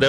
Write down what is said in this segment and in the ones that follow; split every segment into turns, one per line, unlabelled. det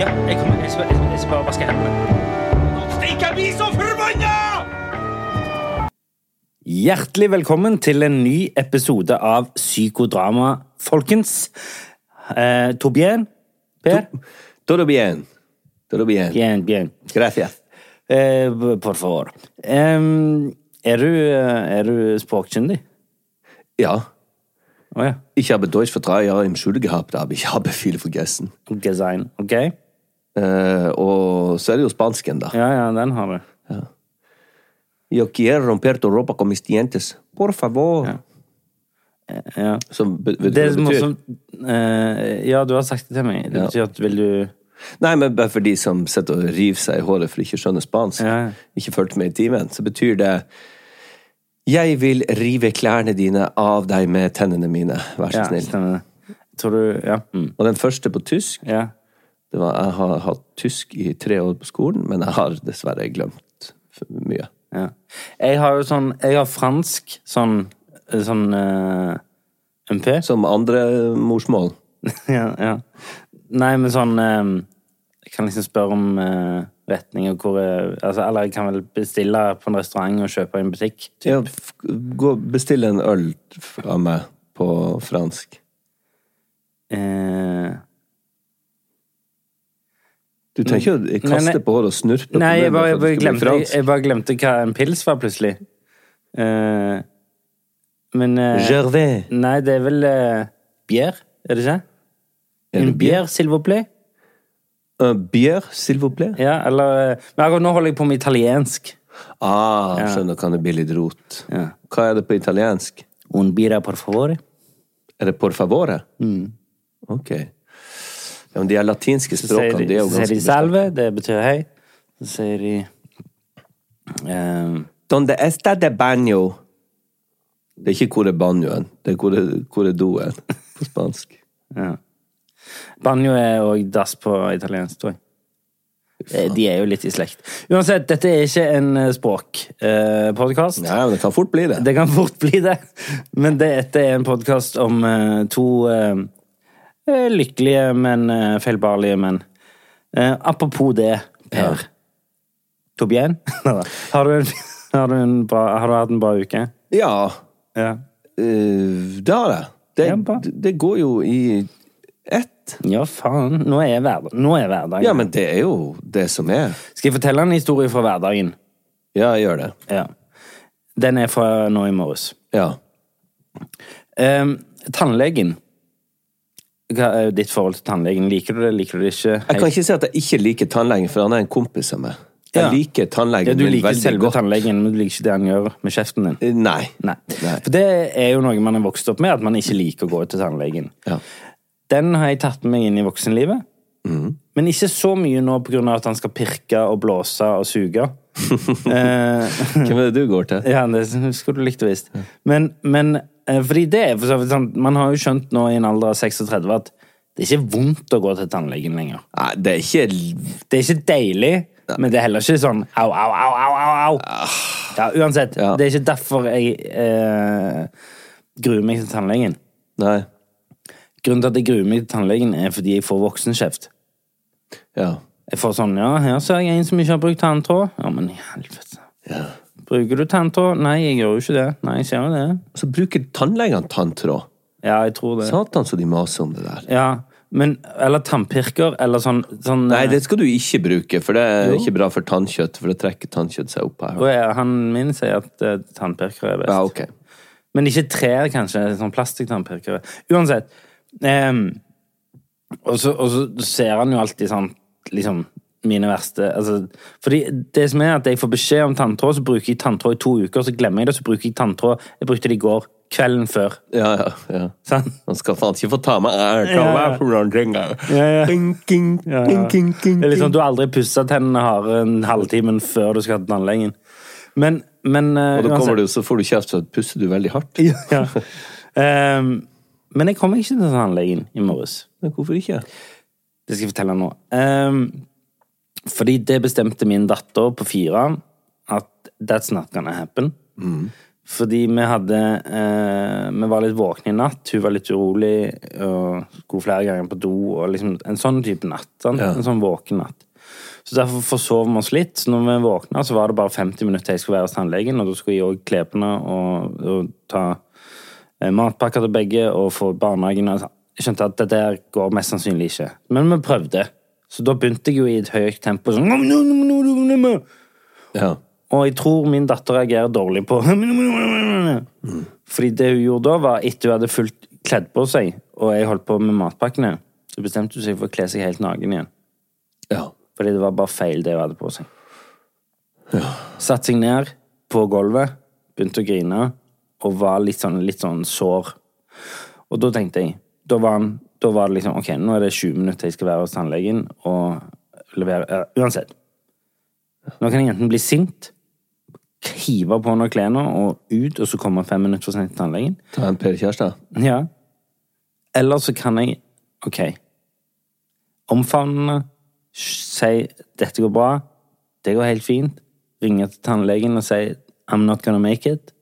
Ja, jeg kommer, jeg skal, jeg skal, jeg skal bare vaske hendene.
Stikk, jeg blir så forbanna!
Hjertelig velkommen til en ny episode av Psykodrama, folkens. Eh, Torbjørn? Per?
Todo bien. Todo bien.
Bien, bien.
Gracias.
Eh, por favor. Em, er du, eh, er du språkkyndig?
Ja,
Å ja.
ich habe Deutsch für drei Jahre im Schule gehabt, aber ich habe viel vergessen.
Design. Ok?
Eh, og så er det jo spansken, da.
Ja, ja, den har du.
Yo quiero romper tu ropa con mis dientes. Por favor.
Ja.
Som be vet
Det
du
som
hva det betyr?
også eh, Ja, du har sagt det til meg. Det
Ja.
betyr at vil du
Nei, men bare for de som sitter og river seg i håret for de ikke skjønner spansk,
Ja.
ikke fulgte med i timen, så betyr det Jeg vil rive klærne dine av deg med tennene mine, vær så
Ja,
snill.
stemmer det. Tror du Ja. Mm.
Og den første på tysk
ja.
Det var, jeg har hatt tysk i tre år på skolen, men jeg har dessverre glemt for mye.
ja. Jeg har jo sånn Jeg har fransk sånn Sånn eh, MP.
Som andre morsmål.
ja, ja. Nei, men sånn eh, Jeg kan liksom spørre om eh, retning og hvor jeg, altså, Eller jeg kan vel bestille på en restaurant og kjøpe i en butikk.
Ja, f- gå, bestill en øl fra meg på fransk.
Eh,
Du trenger ikke å
Nei, nei.
kaste på håret og snurpe på
nei, jeg
munnen
bare,
for
jeg,
at det skal bli
bare glemte, jeg,
fransk.
bare glemte hva en pils var, plutselig. Eh, men eh,
Gervais.
Nei, det er vel eh, bier, er det ikke?
Er
En
det bier?
bier, s'il vous plaît?
Un bier, s'il vous plaît?
Ja, eller eh, Men akkurat nå holder jeg på med italiensk.
Ah, skjønner kan det bli litt rot.
Ja.
Hva er det på italiensk?
Un bira, por favor.
Er det por favore? Ok. Ja, men de her latinske
Mm. Så sier
språkene,
de-
det er jo
så sier
ganske
de salve, det betyr hei. Så sier de eh,
Donde esta de baño? Det er ikke hvor er banjoen, det er hvor er, hvor er doen på spansk.
ja. Banjo er òg dass på italiensk, tror jeg. Eh, De er jo litt i slekt. Uansett, dette er ikke en eh, språkpodkast.
Nei, men det kan fort bli det.
Det kan fort bli det. Men dette er en podkast om eh, to eh, eh, lykkelige, men eh, feilbarlige menn. Eh, apropos det, Per. Torbjørn, har, du en, har, du en bra, har du hatt en bra uke?
Ja,
Ja.
eh, det har jeg. Det,
Ja, bra.
det går jo i ett.
Ja, faen. Nå er, hverdag, nå er hverdagen.
Ja, men det er jo det som er.
Skal jeg fortelle en historie fra hverdagen?
Ja, jeg gjør det.
Ja. Den er fra nå i morges.
Ja.
Eh, tannlegen. Hva er ditt forhold til tannlegen? Liker du det, liker du det ikke?
Jeg kan ikke si at jeg ikke liker tannlegen, for han er en kompis av meg. Jeg
Ja.
liker
Ja,
tannlegen
du
min
liker
veldig
selve
godt.
tannlegen, men du liker ikke det han gjør med kjeften din.
Eh, Nei.
Nei.
Nei.
For det er jo noe man er vokst opp med, at man ikke liker å gå til tannlegen.
Ja.
Den har jeg tatt med meg inn i voksenlivet.
Mhm.
Men ikke så mye nå pga. at han skal pirke og blåse og suge. eh,
Hvem er det du går til?
ja, det skulle du likt og visst. Men, men eh, fordi det er for så vidt sånn Man har jo skjønt nå i en alder av 36 at det er ikke vondt å gå til tannlegen lenger.
Nei, det er ikke
Det er ikke deilig, men det er heller ikke sånn au, au, au, au, au, au. Ja, uansett,
Ja.
det er ikke derfor jeg eh, gruer meg til tannlegen.
Nei.
Grunnen til at jeg gruer meg til tannlegen er fordi jeg får voksenkjeft.
Ja.
Jeg får sånn, ja, her ser jeg en som ikke har brukt tanntråd. Ja, men i helvete.
ja.
Bruker du tanntråd? Nei, jeg gjør jo ikke det. Nei, jeg ser jo det.
Så bruker tannlegene tanntråd.
Ja, jeg tror det.
Satan, så de maser om det der.
Ja, men, eller tannpirker, eller sånn, sånn
Nei,
eh,
det skal du ikke bruke, for det er ikke bra for tannkjøtt. For det trekker tannkjøtt seg opp her.
og jeg- eh, Han min sier at eh, tannpirker er best.
Ja, ok.
Men ikke trær, kanskje. Sånn plastikktannpirkere. Uansett. ehm, og, så, og så ser han jo alltid sånn liksom, mine verste altså, Fordi det som er at jeg får beskjed om tanntråd, så bruker jeg tanntråd i to uker, så glemmer jeg det, så bruker jeg tanntråd Jeg brukte det i går. kvelden før.
Ja, ja, ja.
Sant?
Han skal faen ikke få ta med æren
Ja,
av
ja.
meg for noen ringer.
Ja, ja.
Ding, ding,
Ja,
ding,
ja.
ding, ding,
Det er liksom,
ding.
du har aldri pussa tennene hardere enn halvtimen før du skal til tannlegen. Men, men eh,
Og da kommer du, så får du kjeft, så pusser du veldig hardt.
ja. Ehm, men jeg kommer ikke til tannlegen i morges.
Men hvorfor ikke?
Det skal jeg fortelle nå. Ehm, fordi det bestemte min datter på fire at that's not gonna happen. Fordi vi hadde eh, Vi var litt våkne i natt. Hun var litt urolig og skulle flere ganger på do. Og liksom en sånn type natt. Sant?
Ja.
En sånn våken natt. Så derfor forsov vi oss litt. Så når vi våkna, så var det bare 50 minutter til jeg skulle være hos tannlegen, og da skulle jeg òg kle på henne og, og ta eh, matpakker til begge og få barnehagen og sånn. Jeg skjønte at det der går mest sannsynlig ikke. Men vi prøvde. Så da begynte jeg jo i et høyt tempo sånn «Nom, nom, nom, nom, nom, nom, nom».
Ja.
Og jeg tror min datter reagerer dårlig på Fordi det hun gjorde da, var etter hun hadde fullt kledd på seg, og jeg holdt på med matpakkene, så bestemte hun seg for å kle seg helt naken igjen.
ja.
Fordi det var bare feil, det hun hadde på seg. Satt seg ned på gulvet, begynte å grine, og var litt sånn, litt sånn sår. Og da tenkte jeg da var, han, da var det liksom Ok, nå er det 20 minutter jeg skal være hos tannlegen og levere ja, Uansett. Nå kan jeg enten bli sint, hive på noen klærne og ut, og så komme fem minutter for sent til tannlegen.
Ta en Per Kjærstad.
Ja. Eller så kan jeg OK. Omfavne, si 'dette går bra', 'det går helt fint', ringe til tannlegen og si 'I'm not gonna make it',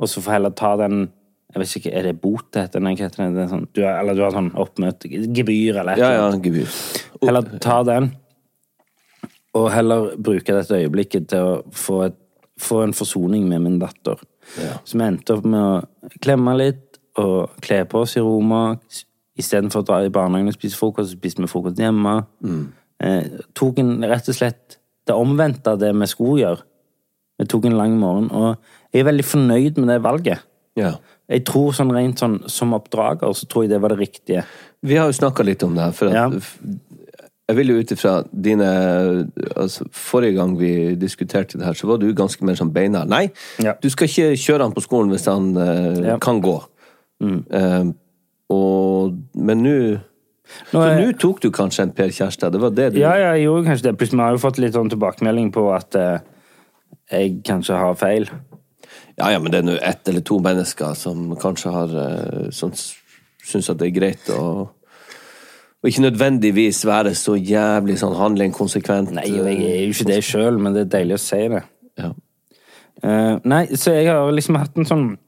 og så får jeg heller ta den jeg vet ikke, Er det bot det heter? Nei, hva heter det? det er sånn, du, har- eller du har sånn oppmøte Gebyr, eller et
Ja,
eller
ja,
annet.
gebyr.
Heller ta den, og heller bruke dette øyeblikket til å få, et, få en forsoning med min datter.
Ja.
Så vi endte opp med å klemme litt og kle på oss i Roma. Istedenfor å dra i barnehagen og spise frokost, så spiste vi frokost hjemme. Eh, tok en rett og slett det omvendte av det vi skulle gjøre. Vi tok en lang morgen, og jeg er veldig fornøyd med det valget.
Ja.
Jeg tror sånn rent sånn som oppdrager, så tror jeg det var det riktige.
Vi har jo snakka litt om det her, for at
Ja.
f- jeg vil jo ut ifra dine altså, Forrige gang vi diskuterte det her, så var du ganske mer sånn beina. Nei,
Ja.
du skal ikke kjøre han på skolen hvis han eh,
Ja.
kan gå. Eh, og, men nå Så
er-
nå tok du kanskje en Per Kjærstad, det var det du
Ja, ja, jeg gjorde kanskje det. Plutselig har jeg jo fått litt sånn tilbakemelding på at eh, jeg kanskje har feil.
Ja, ja, men det er nå ett eller to mennesker som kanskje har eh, Som s- syns at det er greit å Og ikke nødvendigvis være så jævlig sånn handling konsekvent.
Nei, og jeg er jo ikke det sjøl, men det er deilig å si det.
Ja.
Eh, nei, så jeg har liksom hatt en sånn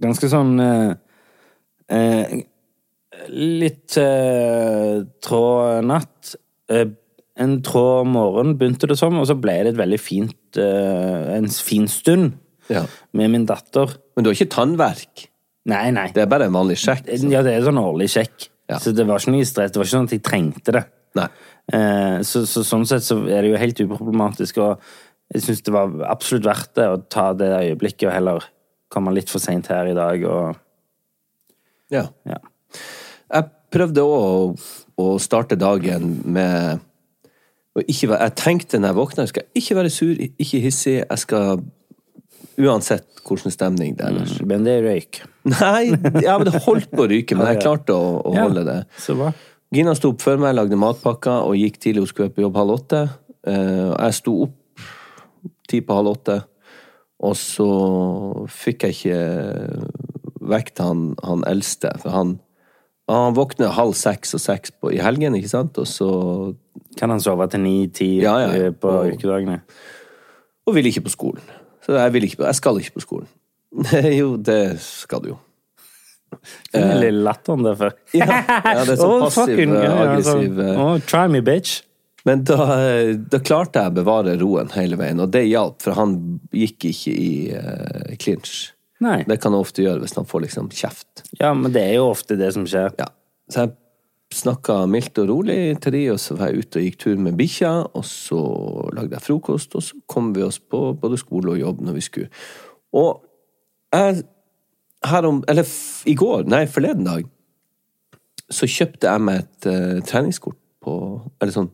ganske sånn eh, eh, Litt eh, trå natt. eh, en trå morgen begynte det som, og så ble det et veldig fint eh, en fin stund
Ja.
med min datter.
Men du har ikke tannverk.
Nei, nei.
Det er bare en vanlig sjekk.
Ja, det er sånn årlig sjekk.
Ja.
Så det var ikke noe stress. Det var ikke sånn at jeg trengte det.
Nei.
Eh, så, så sånn sett så er det jo helt uproblematisk, og jeg syns det var absolutt verdt det å ta det der øyeblikket og heller komme litt for seint her i dag og
Ja.
ja.
Jeg prøvde òg å starte dagen med å ikke være Jeg tenkte når jeg våkna, jeg skal ikke være sur, ikke hissig, jeg skal Uansett hvordan stemning det er ellers.
Men det er røyk.
Nei, ja, men det holdt på å ryke, men jeg klarte å, å holde det.
Så bra.
Gina sto opp før meg, lagde matpakker og gikk tidlig. Hun skulle være på jobb halv åtte. Eh, og jeg sto opp ti på halv åtte, og så fikk jeg ikke vekt han, han eldste. For han, han våkner halv seks og seks på, i helgen, ikke sant? Og så
Kan han sove til ni-ti
Ja, ja.
eh, på
Og-
ukedagene?
Og ville ikke på skolen. Så jeg, vil ikke, på- jeg skal ikke på skolen. jo, det skal du jo.
Den lille latteren der før.
Ja, ja, Eh. det er sånn passiv, aggressiv eh,
oh, Try me, bitch.
Men da, da klarte jeg å bevare roen hele veien, og det hjalp, for han gikk ikke i eh, clinch.
Nei.
Det kan han ofte gjøre hvis han får liksom kjeft.
Ja, men det er jo ofte det som skjer.
Ja. Så jeg snakka mildt og rolig til de, og så var jeg ute og gikk tur med bikkja, og så lagde jeg frokost, og så kom vi oss på både skole og jobb når vi skulle. Og jeg her om Eller f i går, nei, forleden dag, så kjøpte jeg meg et eh, treningskort på Eller sånn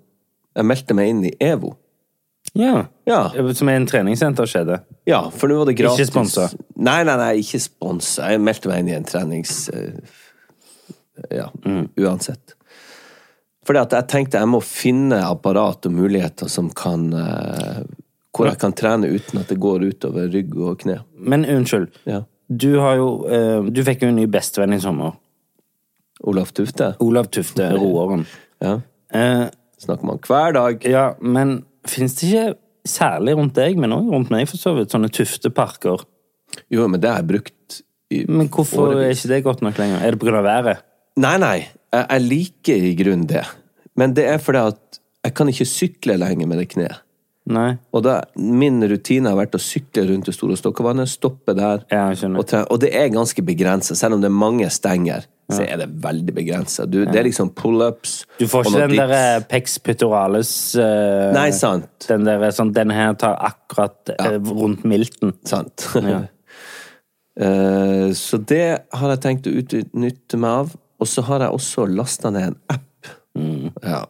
Jeg meldte meg inn i EVO.
Ja.
Ja.
Som er en treningssenter skjedde.
Ja, for nå var det gratis.
Ikke sponsa.
Nei, nei, nei, ikke spons. Jeg meldte meg inn i en trenings... eh, Ja,
Mm.
uansett. Fordi at jeg tenkte jeg må finne apparat og muligheter som kan eh, Hvor jeg kan trene uten at det går utover rygg og kne.
Men unnskyld.
Ja.
Du har jo eh, Du fikk jo en ny bestevenn i sommer.
Olaf Tufte.
Olav Tufte, roeren.
Ja.
Eh,
Snakker man hver dag.
ja, men fins det ikke særlig rundt deg, men òg rundt meg, for så vidt, sånne tufteparker?
Jo, men det har jeg brukt i
Men hvorfor er ikke det godt nok lenger? Er det på grunn av været?
Nei, nei. Jeg, jeg liker i grunnen det. Men det er fordi at jeg kan ikke sykle lenger med det kneet.
Nei.
Og da, min rutine har vært å sykle rundt det store Stokkevannet, stoppe der.
Ja, jeg skjønner.
og, tre- og det er ganske begrenset. Selv om det er mange stenger, så er det veldig begrenset. Du, Det er liksom pull-ups.
Du får
og
ikke
noen
den eh,
dips.
derre pex pectoralis eh,
Nei, sant.
Den derre sånn Den her tar akkurat eh, rundt milten.
Sant.
Ja.
Eh, så det har jeg tenkt å utnytte meg av. Og så har jeg også lasta ned en app.
Mm.
Ja.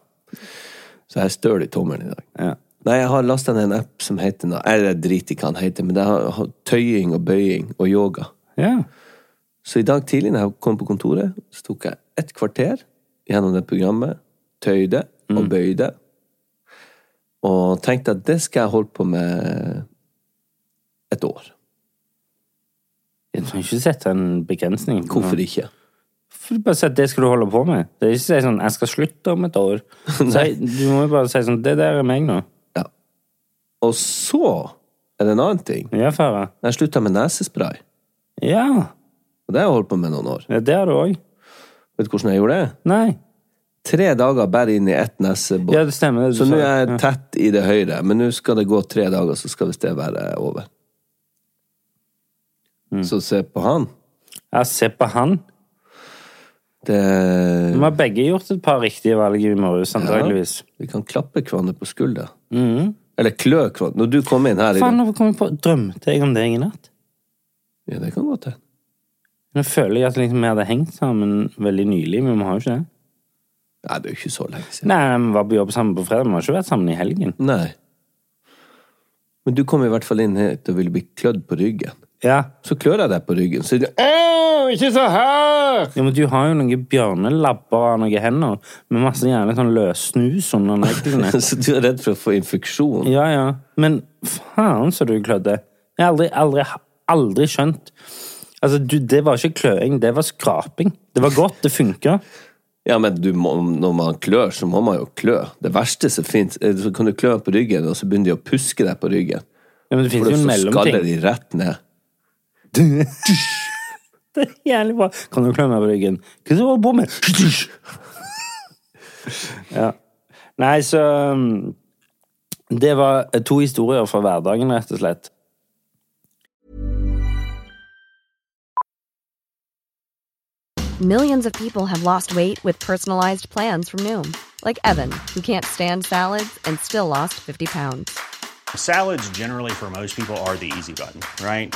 Så jeg er støl i tommelen i dag.
Ja.
Nei, jeg har lasta ned en app som heter noe- Eller jeg driter i hva den heter, men det har har tøying og bøying og yoga.
ja.
Så i dag tidlig når jeg kom på kontoret, så tok jeg et kvarter gjennom det programmet, tøyde
Mm.
og bøyde, og tenkte at det skal jeg holde på med et år.
Jeg trenger ikke sette en begrensning. på
Hvorfor
det.
ikke?
For du bare si at det skal du holde på med. Det er ikke å si sånn 'jeg skal slutte om et år'. si, du må jo bare si sånn 'det der er meg nå'.
Ja. Og så er det en annen ting.
Ja, Farah.
Jeg slutta med nesespray.
Ja.
Og det har jeg holdt på med noen år.
ja. Det har du òg.
Vet du hvordan jeg gjorde det?
Nei.
Tre dager bare inn i ett nesebor.
Ja, det stemmer. det du
så nå
sa.
er jeg tett i det høyre, men nå skal det gå tre dager, så skal visst det være over.
Mm.
Så se på han.
Ja, se på han.
Det, eh,
Vi har begge gjort et par riktige valg i morges, antageligvis. Mhm.
vi kan klappe hverandre på skuldra. Eller klø hverandre. Når du kom inn her i
Faen,
dag
hvorfor kom jeg på Drømte jeg om det i natt?
ja, Det kan godt hende.
Nå føler jeg at liksom, vi hadde hengt sammen veldig nylig, men vi har jo ikke det.
Nei, det er jo ikke så lenge siden.
Nei, vi var på jobb sammen på fredag, vi har ikke vært sammen i helgen.
Nei. Men du kom i hvert fall inn hit og ville bli klødd på ryggen.
Ja.
Så klør jeg deg på ryggen, så er det Ikke så her!
ja men du har jo noen bjørnelabber av noen hender, med masse gjerne sånn løs snus under neglene.
så du er redd for å få infeksjon?
Ja, ja. Men faen så du klødde. Jeg har aldri, aldri, aldri skjønt. Altså, du, det var ikke kløing, det var skraping. Det var godt, det funka.
Ja, men du må, når man klør, så må man jo klø. Det verste som fins, er så kan du klø på ryggen, og så begynner de å puske deg på ryggen.
Ja, men det
For
finnes jo en
så
mellomting.
skaller de rett ned.
Det er jævlig bra. Kan du klø meg på ryggen? Hva er det du holder på med? ja. Nei, så um, Det var eh, to historier fra hverdagen, rett og slett.
Millions of people have lost weight with personalized plans from Noom, like Evan, who can't stand salads and still lost 50 pounds.
Salads, generally, for most people, are the easy button, right?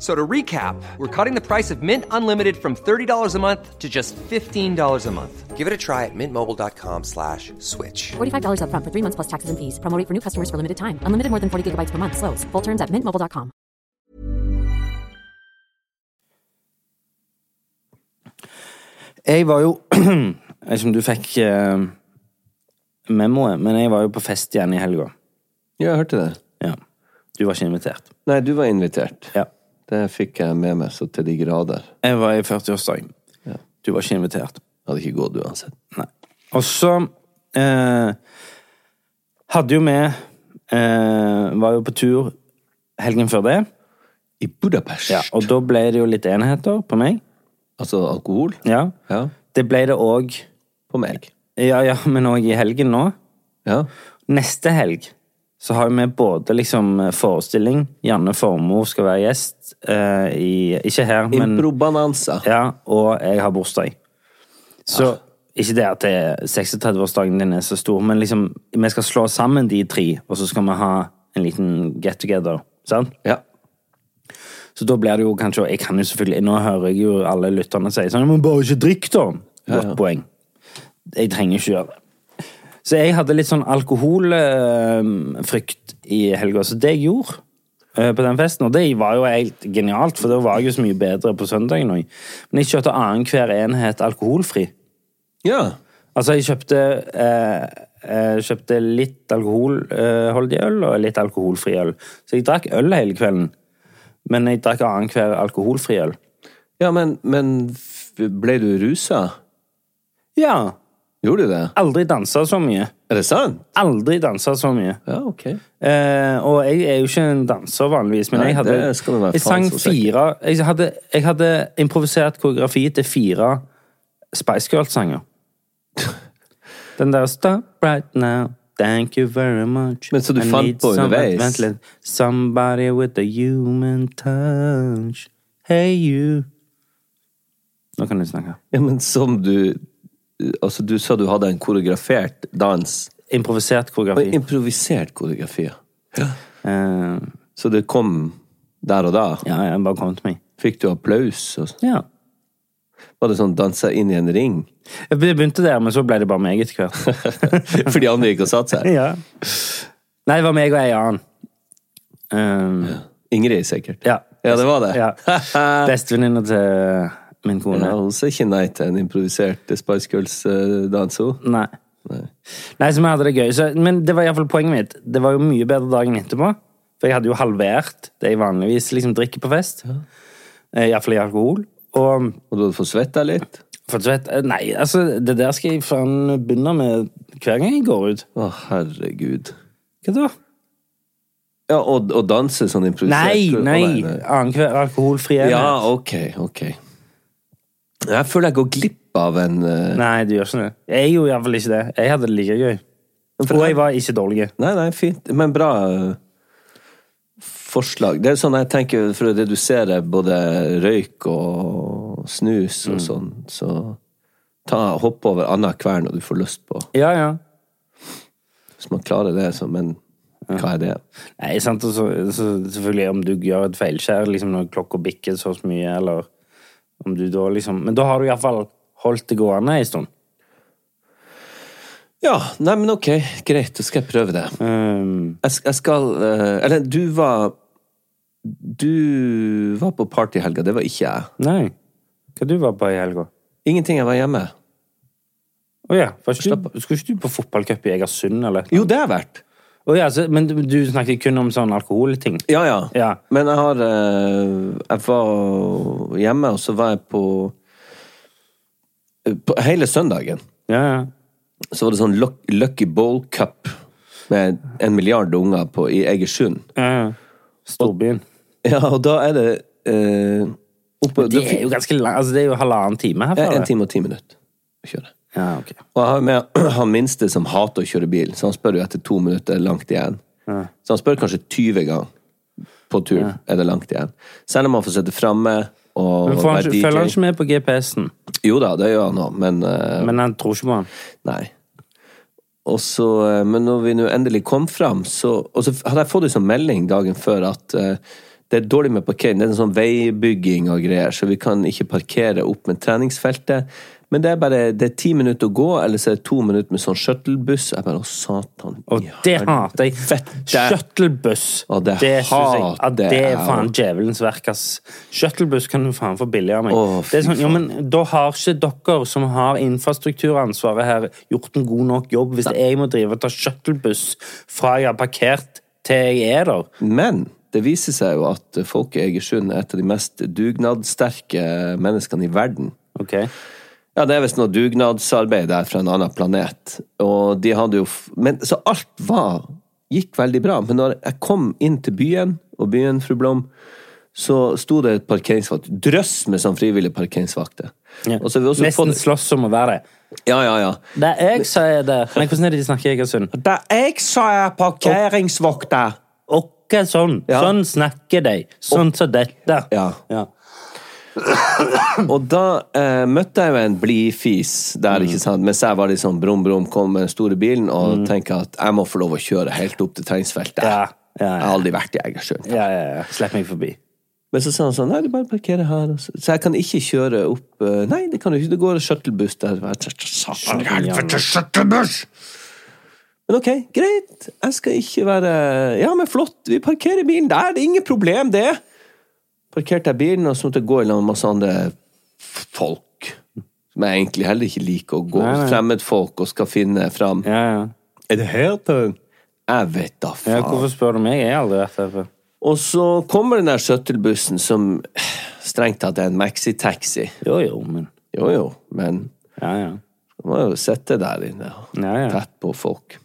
So to recap, we're cutting the price of Mint Unlimited from $30 a month to just $15 a month. Give it a try at mintmobile.com slash switch.
$45 up front for three months plus taxes and fees. Promo rate for new customers for limited time. Unlimited more than 40 gigabytes per month. Slows. Full terms at mintmobile.com.
Jeg var jo Jeg vet ikke om du fikk eh, memoet, men jeg var jo på fest igjen i helga.
Ja, jeg hørte det.
Ja. Du var ikke invitert.
Nei, du var invitert.
Ja.
Det fikk jeg med meg så til de grader.
Jeg var i 40-årsdag. Du var ikke invitert.
Hadde ikke gått uansett.
Nei. Og så eh, hadde jo vi eh, Var jo på tur helgen før det.
I Budapest.
Ja, og da ble det jo litt enheter på meg.
Altså alkohol?
Ja.
Ja.
Det ble det òg
På meg.
Ja, ja, men òg i helgen nå.
Ja.
Neste helg så har vi både liksom forestilling Janne Formoe skal være gjest eh, i Ikke her, men
Improbananza.
ja, og jeg har bursdag. Så ikke det at det er 36-årsdagen din er så stor, men liksom, vi skal slå sammen de tre, og så skal vi ha en liten get together. Sant?
Ja.
Så da blir det jo kanskje og Jeg kan jo selvfølgelig Nå hører jeg jo alle lytterne si sånn Men bare ikke drikk, da! Godt poeng. Jeg trenger ikke gjøre det. Så jeg hadde litt sånn alkoholfrykt i helga. Så det jeg gjorde eh, på den festen, og det var jo helt genialt, for da var jeg jo så mye bedre på søndagen òg, men jeg kjøpte annenhver enhet alkoholfri.
ja.
Altså, jeg kjøpte, eh, eh, kjøpte litt alkoholholdig øl og litt alkoholfri øl. Så jeg drakk øl hele kvelden, men jeg drakk annenhver alkoholfri øl.
Ja, men, men f- ble du rusa?
Ja.
Gjorde du det?
Aldri dansa så mye.
Er det sant?
Aldri dansa så mye.
Ja, ok.
Eh, og jeg er jo ikke en danser vanligvis, men
Nei,
jeg hadde
det skal du være
Jeg
faen
sang
så sikker.
fire jeg hadde, jeg hadde improvisert koreografi til fire Spice Girls-sanger. Den der Stop right now, thank you very much
Men så du
I
fant
need
på underveis?
Vent litt. Somebody with a human touch Hey you Nå kan du snakke.
Ja, men som du Altså, du sa du hadde en koreografert dans.
Improvisert
Og
koreografi.
improvisert koreografi. ja.
Eh,
Så det kom der og da.
ja, jeg bare kom til meg.
Fikk du applaus? Og,
Ja.
var det sånn dansa inn i en ring?
Jeg begynte der, men så ble det bare meg etter hvert.
For de andre gikk og satte seg?
ja. Nei, det var meg og ei annen. Um,
Ingrid, sikkert.
ja.
Ja, det var det.
Ja. Bestevenninna til min kone.
Ja, hun sa ikke nei til en improvisert Spice Girls-dans, hun.
Nei.
Nei.
Nei, så vi hadde det gøy. Så, men det var iallfall poenget mitt. Det var jo mye bedre dagen etterpå. For jeg hadde jo halvert det jeg vanligvis liksom drikker på fest. Eh, i hvert Iallfall i alkohol. Og
Og du hadde fått svetta litt?
for du vet, eh, Nei, altså, det der skal jeg faen begynne med hver gang jeg går ut.
Å, herregud.
Hva da?
Ja, og, og danse sånn
Nei,
improvisert? Å,
nei! Annenhver alkoholfri enhet.
Ja, ok, ok. Jeg føler jeg går glipp av en eh,
Nei, du gjør ikke det. Jeg gjorde iallfall ikke det. Jeg hadde det like gøy.
for
Og
jeg-
jeg var ikke dårlig.
Nei, nei, fint. Men bra eh, forslag. Det er sånn jeg tenker for å redusere både røyk og snus
Mm.
og sånn, så ta, hopp over annen kvern når du får lyst på.
Ja, ja.
Hvis man klarer det, så, men hva er det?
Nei, sant, og så, så selvfølgelig om du gjør et feilskjær liksom når klokka bikker så og så mye, eller om du da liksom Men da har du iallfall holdt det gående en stund.
Ja, nei, men ok, greit, da skal jeg prøve det.
Um,
Jeg, sk- jeg skal eh, Eller, du var Du var på party i helga, det var ikke jeg.
nei. Hva du var på i helga?
Ingenting, jeg var hjemme.
Å ja. var ikke du- Skulle ikke du på fotballcup i Egersund, eller?
Jo, det har jeg vært.
Å ja, så, men du du snakket kun om sånn alkoholting?
Ja, ja.
Ja.
Men jeg har eh, Jeg var hjemme, og så var jeg på, eh, på Hele søndagen
Ja, ja.
så var det sånn Luck- Lucky Bowl Cup med en milliard unger på, i Egersund.
ja, ja. Storbyen.
Ja, og da er det eh, oppe,
Det er jo ganske langt. Altså, det er jo halvannen time herfra.
En
det.
time og ti minutter å kjøre.
Ja, ok.
Og jeg har med han minste som hater å kjøre bil, så han spør jo etter to minutter er det langt igjen. Så han spør kanskje 20 ganger på turen er det langt igjen. Selv om han får sitte framme og
Men får han,
være
ikke- følger han
DJ.
ikke med på GPS-en?
Jo da, det gjør han òg, men, eh,
Men han tror ikke på han.
nei. Og så, eh, men når vi nå endelig kom fram, så, og så hadde jeg fått en sånn melding dagen før at eh, det er dårlig med parkering. Det er en sånn veibygging og greier, så vi kan ikke parkere opp med treningsfeltet. Men det er bare det er ti minutter å gå, eller så er det to minutter med sånn shuttlebuss. Jeg bare, å satan.
Og
i
det hater jeg. Shuttlebuss.
Å, det
synes jeg-
hater
at det
jeg
er
også.
faen djevelens verk, ass. Shuttlebuss kan du faen få billig av meg.
Å, fy
det er sånn, jo, men da har ikke dere som har infrastrukturansvaret her, gjort en god nok jobb hvis jeg må drive og ta shuttlebuss fra jeg har parkert til jeg er der.
Men det viser seg jo at folk i Egersund er et av de mest dugnadssterke menneskene i verden.
Ok.
Ja, det er visst noe dugnadsarbeid der fra en annen planet. Og de hadde jo f men, Så alt var gikk veldig bra. Men når jeg kom inn til byen, og byen, fru Blom, så sto det et parkeringsvakt. Drøss med sånn frivillige parkeringsvakter.
Ja.
Og så har vi også
Nesten
fått
slåss om å være det.
Ja, ja, ja.
Det er jeg som er det. Nei, hvordan er det de snakker i Egersund?
Det er jeg som er parkeringsvokter.
Åkke sånn.
Ja.
Sånn snakker de. Sånn som dette.
Ja.
Ja.
Og da eh, møtte jeg jo en blid fis der,
Mm.
ikke sant? mens jeg var liksom brum, brum, kom med den store bilen og tenkte at jeg må få lov å kjøre helt opp til terrengsfeltet.
Ja, ja, ja.
Jeg har aldri vært i Egersund.
Ja, ja, ja. Slipp meg forbi.
Men så sa han sånn Nei, du bare parkerer her. og Så så jeg kan ikke kjøre opp eh, Nei, det kan du ikke. Det går shuttlebuss der. Jeg tenkte, Satan i helvete, shuttlebuss! Men ok, greit. Jeg skal ikke være Ja, men flott. Vi parkerer bilen der. Det er ingen problem, det. Parkerte jeg bilen, og så måtte jeg gå i lag med masse andre folk. Som jeg egentlig heller ikke liker å gå. Fremmedfolk og skal finne fram.
Ja, ja.
Er det her på Jeg vet da faen.
ja hvorfor spør du meg? Jeg har aldri vært der før.
Og så kommer den der shuttlebussen som strengt tatt er en maxitaxi.
Jo, jo, men
Jo jo, men
Ja, ja.
du må jo sitte der inne og
Ja, ja.
tett på folk.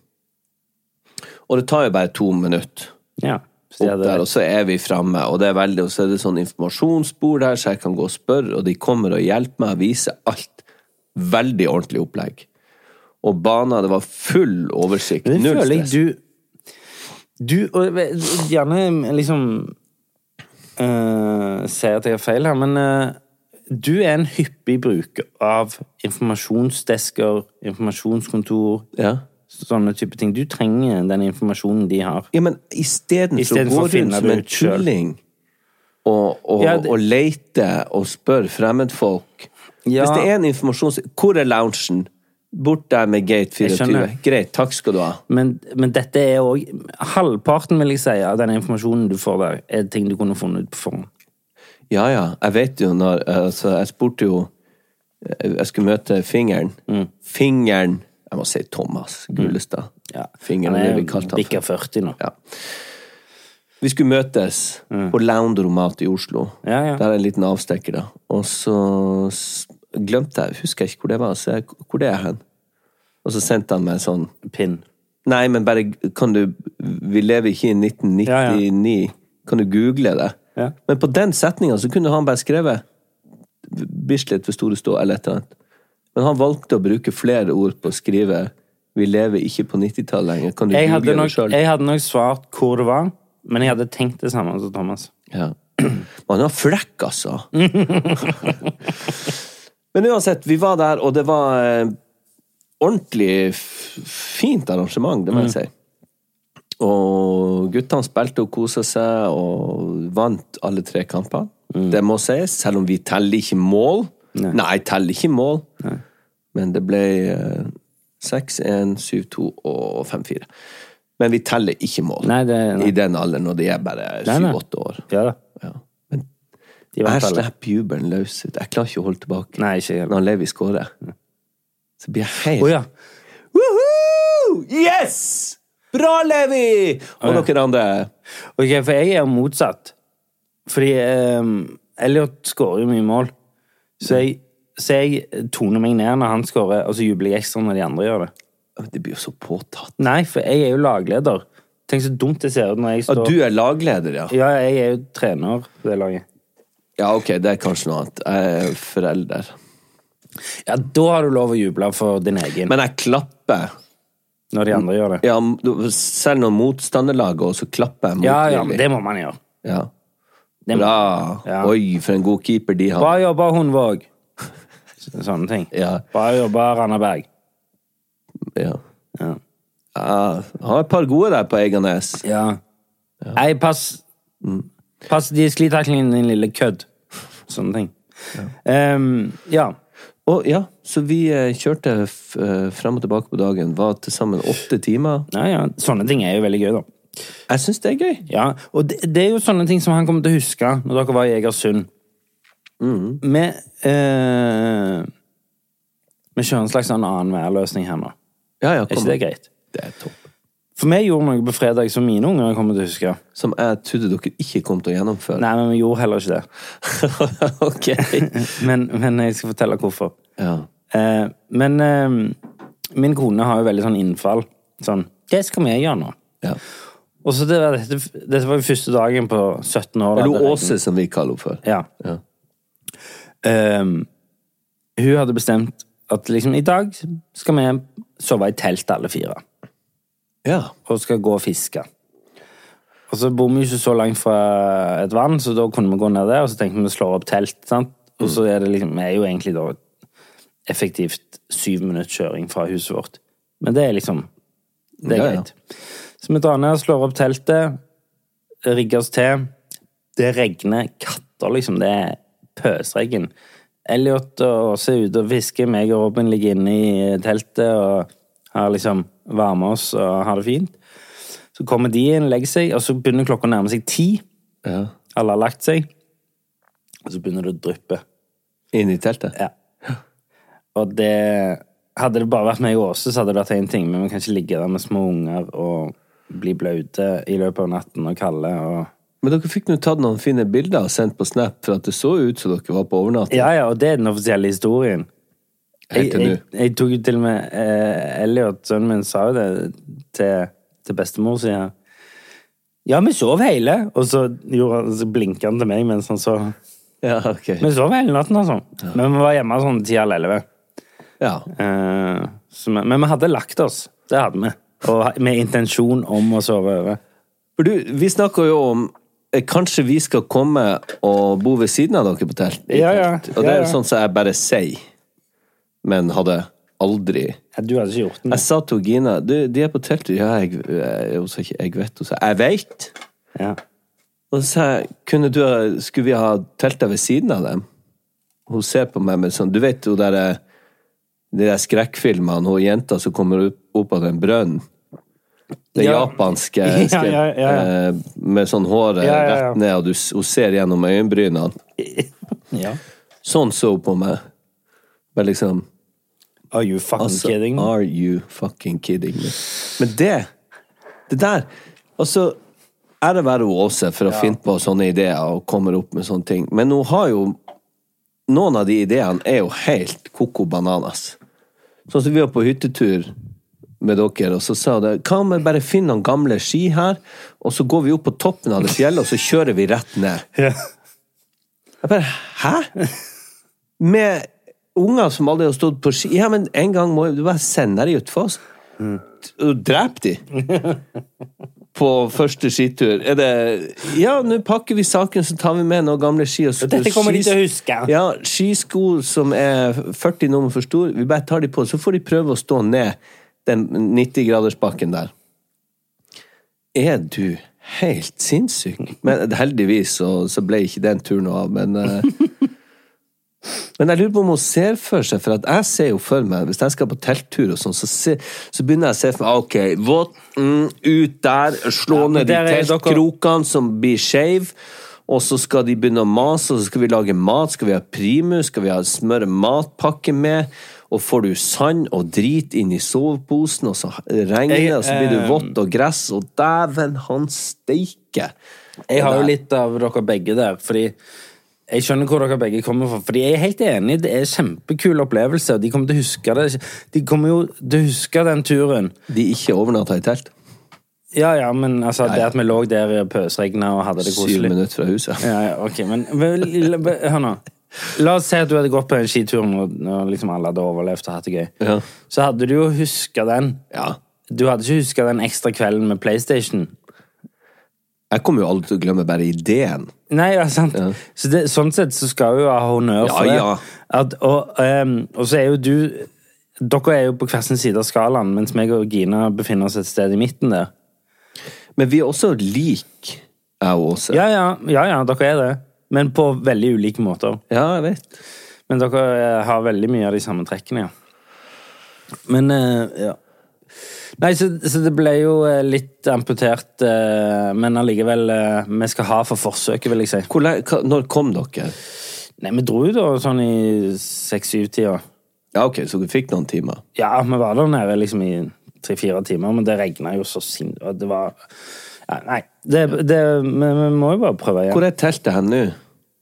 Og det tar jo bare to minutter
ja. Så jeg
opp
hadde-
der, og så er vi framme. Og det er veldig, og så er det sånn informasjonsbord der, så jeg kan gå og spørre, og de kommer og hjelper meg og viser alt. Veldig ordentlig opplegg. Og bana, det var full oversikt.
Men det
Null
føler jeg
stress.
du Du, og eh, gjerne liksom uh, Sier at jeg har feil her, men eh, du er en hyppig bruker av informasjonsdesker, informasjonskontor,
Ja.
sånne type ting. Du trenger den informasjonen de har.
Ja, men isteden så
Isteden for
går
å
du
finne
rundt som
det
en
ut selv.
tulling og, og,
Ja, det-
og leter og spør fremmedfolk.
Ja.
Hvis det er en informasjons... Hvor er loungen? Bort der med gate
Jeg
24.
skjønner.
Greit, takk skal du ha.
Men, men dette er òg Halvparten vil jeg si, av den informasjonen du får der, er ting du kunne funnet ut på forhånd.
Ja, ja, jeg vet jo når altså, Jeg spurte jo eh, Jeg skulle møte fingeren.
Mm.
Fingeren Jeg må si Thomas Gullestad.
Ja.
Fingeren, det vi kalte han
bikka
for.
40 nå.
Ja. Vi skulle møtes på Lounderomat i Oslo.
Mm. Ja, ja.
Der er en liten avstikker, da. Og så s- glemte jeg, husker jeg ikke hvor det var, så jeg, hvor det er hen? Og så sendte han meg sånn
Pinn.
Nei, men bare kan du Vi lever ikke i 1999.
Ja,
Kan du google det?
Ja.
Men på den setninga så kunne han bare skrevet Bislett ved Store Stå eller et eller annet. Men han valgte å bruke flere ord på å skrive 'Vi lever ikke på 90-tallet lenger'. Kan du
Jeg hadde,
google det
nok,
sjøl?
jeg hadde nok svart hvor det var, men jeg hadde tenkt det samme som Thomas.
Ja. Man har flekk, altså. Men uansett, vi var der, og det var eh, ordentlig f- fint arrangement, det må
Mm.
jeg si. Og guttene spilte og kosa seg, og vant alle tre kampene.
Mm.
Det må sies, selv om vi teller ikke mål. Nei, teller ikke mål. Men det ble eh, 6-1, 7-2 og 5-4. Men vi teller ikke mål
Nei, det- nei.
i den alderen når de er bare
Nei, nei.
7-8 år.
Ja da.
Ja. Men
De
jeg
vant alle.
slipper jubelen løs ut. Jeg klarer ikke å holde tilbake.
Nei, ikke jeg.
Når Levi scorer, så blir jeg helt
Å ja.
Woohoo! Yes! Bra, Levi! Og noen andre.
Ok, for jeg er jo motsatt. Fordi eh, Elliot skårer jo mye mål. Så jeg, så jeg toner meg ned når han skårer, og så jubler jeg ekstra når de andre gjør det.
Men Det blir jo så påtatt.
Nei, for jeg er jo lagleder. Tenk så dumt det ser ut når jeg
At
står
du er lagleder, ja.
Ja, jeg er jo trener på det laget.
Ja, ok, det er kanskje noe annet. Jeg er forelder.
Ja, da har du lov å juble for din egen
Men jeg klapper.
når de andre gjør det.
Ja, du- selv når motstanderlaget også klapper jeg mot
Ja, ja, men
Levi.
det må man gjøre.
Ja.
Det må.
Bra!
Ja.
Oi, for en god keeper de har.
Bra jobba, Hundvåg. Sånne ting.
Ja.
Bra jobba, Randaberg.
Ja.
Ja.
Ja, har et par gode der på Eiganes.
Ja. Mm. Nei, pass Pass de sklittaklingene, din lille kødd. Sånne ting. Ja. ja.
Og ja, så vi eh, kjørte f eh, frem og tilbake på dagen. Var til sammen åtte timer.
ja, ja. Sånne ting er jo veldig gøy, da.
Jeg syns det er gøy.
Ja, Og det, det er jo sånne ting som han kommer til å huske når dere var i Egersund. Med, eh, Vi kjører en slags sånn annen værløsning her nå.
Ja, ja,
Er
kom.
ikke det greit?
Det er topp.
For vi gjorde noe på fredag som mine unger kommer til å huske.
Som jeg trodde dere ikke kom til å gjennomføre.
Nei, men vi gjorde heller ikke det.
ok.
Men, men jeg skal fortelle hvorfor.
Ja.
Eh, men eh, min kone har jo veldig sånn innfall. Sånn Det skal vi gjøre nå.
ja.
Og så det var dette, dette var jo første dagen på 17 år. da det
Eller
regnet.
Åse, som vi kaller henne for.
Ja.
Ja.
Eh, Ehm, hun hadde bestemt at liksom i dag skal vi sove i telt alle fire,
Ja.
og skal gå og fiske. Og så bor vi jo ikke så langt fra et vann, så da kunne vi gå ned der, og så tenkte vi å slå opp telt, sant? Og så er det liksom, vi er jo egentlig da effektivt syv minutter kjøring fra huset vårt. Men det er liksom, det er
Ja, ja.
greit. Så vi drar ned, slår opp teltet, rigger oss til. Det regner katter, liksom. Det er pøsregn. Elliot og Åse er ute og hvisker. Meg og Robin ligger inne i teltet og har liksom varma oss og har det fint. Så kommer de inn, legger seg, og så begynner klokka å nærme seg ti.
ja.
Alle har lagt seg. Og så begynner det å dryppe.
Inn i teltet?
Ja. Og det Hadde det bare vært meg og Åse, så hadde det vært én ting, men vi kan ikke ligge der med små unger og bli blaute i løpet av natten og kalde og
Men dere fikk nå tatt noen fine bilder og sendt på Snap, for at det så ut som dere var på overnatting.
Ja, ja, og det er den offisielle historien. Jeg,
Helt til
jeg,
nå.
jeg tok jo til og med eh, Elliot, sønnen min, sa jo det til, til bestemor, sier jeg. Ja, vi sov hele! Og så, gjorde han- så blinket han til meg mens han sov.
Ja, ok.
Vi sov hele natten, altså. Men vi var hjemme sånn ti halv elleve.
Ja.
Eh, så vi, men vi hadde lagt oss. Det hadde vi. Og med intensjon om å sove over.
For du, vi snakker jo om eh, Kanskje vi skal komme og bo ved siden av dere på telt? i
Ja, ja.
telt. Og det er
Ja,
jo
ja.
sånn som jeg bare sier, men hadde aldri
Ja, du hadde ikke gjort det.
Jeg sa til Gina du, De er på teltet. Ja, jeg, jeg, hun sa ikke 'jeg vet'. Hun sa 'jeg veit'. Altså-
Ja.
Og så sa jeg kunne du, ha- Skulle vi ha teltet ved siden av dem? Hun ser på meg med sånn Du vet hun der, eh, de der skrekkfilmene, hun jenta som kommer opp, opp av den brønnen? Det
Ja.
japanske
Ja,
skre-
ja, ja, ja.
eh, Med sånn håret
Ja, ja, ja.
rett ned, og du, s- hun ser gjennom øyenbrynene.
ja.
Sånn så hun på meg. Bare liksom
Are you fucking
Altså,
kidding? me?
Are you fucking kidding me? Men det Det der Altså, ære være hun Åse for å finne på sånne ideer og kommer opp med sånne ting, men hun har jo Noen av de ideene er jo helt koko bananas. Sånn som vi var på hyttetur med dere, og så sa hun det Hva om vi bare finner noen gamle ski her, og så går vi opp på toppen av det fjellet, og så kjører vi rett ned?
Ja.
Jeg bare Hæ?! Med unger som aldri har stått på ski Ja, men en gang må du bare sende dem utfor.
Mm.
Og drepe dem! På første skitur. Er det Ja, nå pakker vi saken, så tar vi med noen gamle ski. Og
Og dette kommer de til å huske.
Ja, skisko som er 40 nummer for stor, vi bare tar de på, så får de prøve å stå ned den 90-gradersbakken der. Er du helt sinnssyk? Men heldigvis så, så ble ikke den turen noe av, men eh, Men jeg lurer på om hun ser for seg, for at jeg ser jo for meg Hvis jeg skal på telttur og sånn, så, se, så begynner jeg å se for meg OK, våt, mm, ut der, slå
Ja, men
ned de
der er dere-
teltkrokene som blir skeive, og så skal de begynne å mase, og så skal vi lage mat, skal vi ha primus, skal vi ha smøre matpakke med, og får du sand og drit inn i soveposen, og så regner det,
Jeg,
og så blir du
eh,
vått og gress, og dæven, han steiker!
Jeg har jo litt av dere begge der, fordi jeg skjønner hvor dere begge kommer fra. Fordi jeg er helt enig, det er kjempekul opplevelse, og de kommer til å huske det. De kommer jo til å huske den turen.
De ikke overnatta i telt.
Ja, ja, men altså, det at vi lå der i pøsregnet og hadde det
Syv
koselig
minutter fra huset.
ja, ja, ok, men vel, la- be- Hør nå. La oss si at du hadde gått på den skituren og, og liksom alle hadde overlevd og hatt det gøy.
Ja.
Så hadde du jo huska den.
Ja.
Du hadde ikke huska den ekstra kvelden med PlayStation.
Jeg kommer jo aldri til å glemme bare ideen.
Nei, ja, sant. Så det, sånn sett så skal hun jo ha honnør
Ja,
for det.
ja.
At, og, ehm, og så er jo du Dere er jo på hver sin side av skalaen, mens meg og Gina befinner oss et sted i midten der.
Men vi er også like, jeg og Åse.
Ja, ja, ja, ja dere er det. Men på veldig ulike måter.
Ja, jeg vet.
Men dere eh, har veldig mye av de samme trekkene, ja. Men eh, ja. Nei, så, så det ble jo eh, litt amputert, eh, men allikevel eh, Vi skal ha for forsøket, vil jeg si.
Hvor lenge, hva, når kom dere?
Nei, vi dro jo da sånn i seks-syv-tida.
Ja, ok, så dere fikk noen timer.
Ja, vi var der nede liksom i tre-fire timer, men det regna jo så sinnssykt. og Det var ja, Nei, det, det, vi, vi må jo bare prøve igjen.
Hvor er teltet hen nå?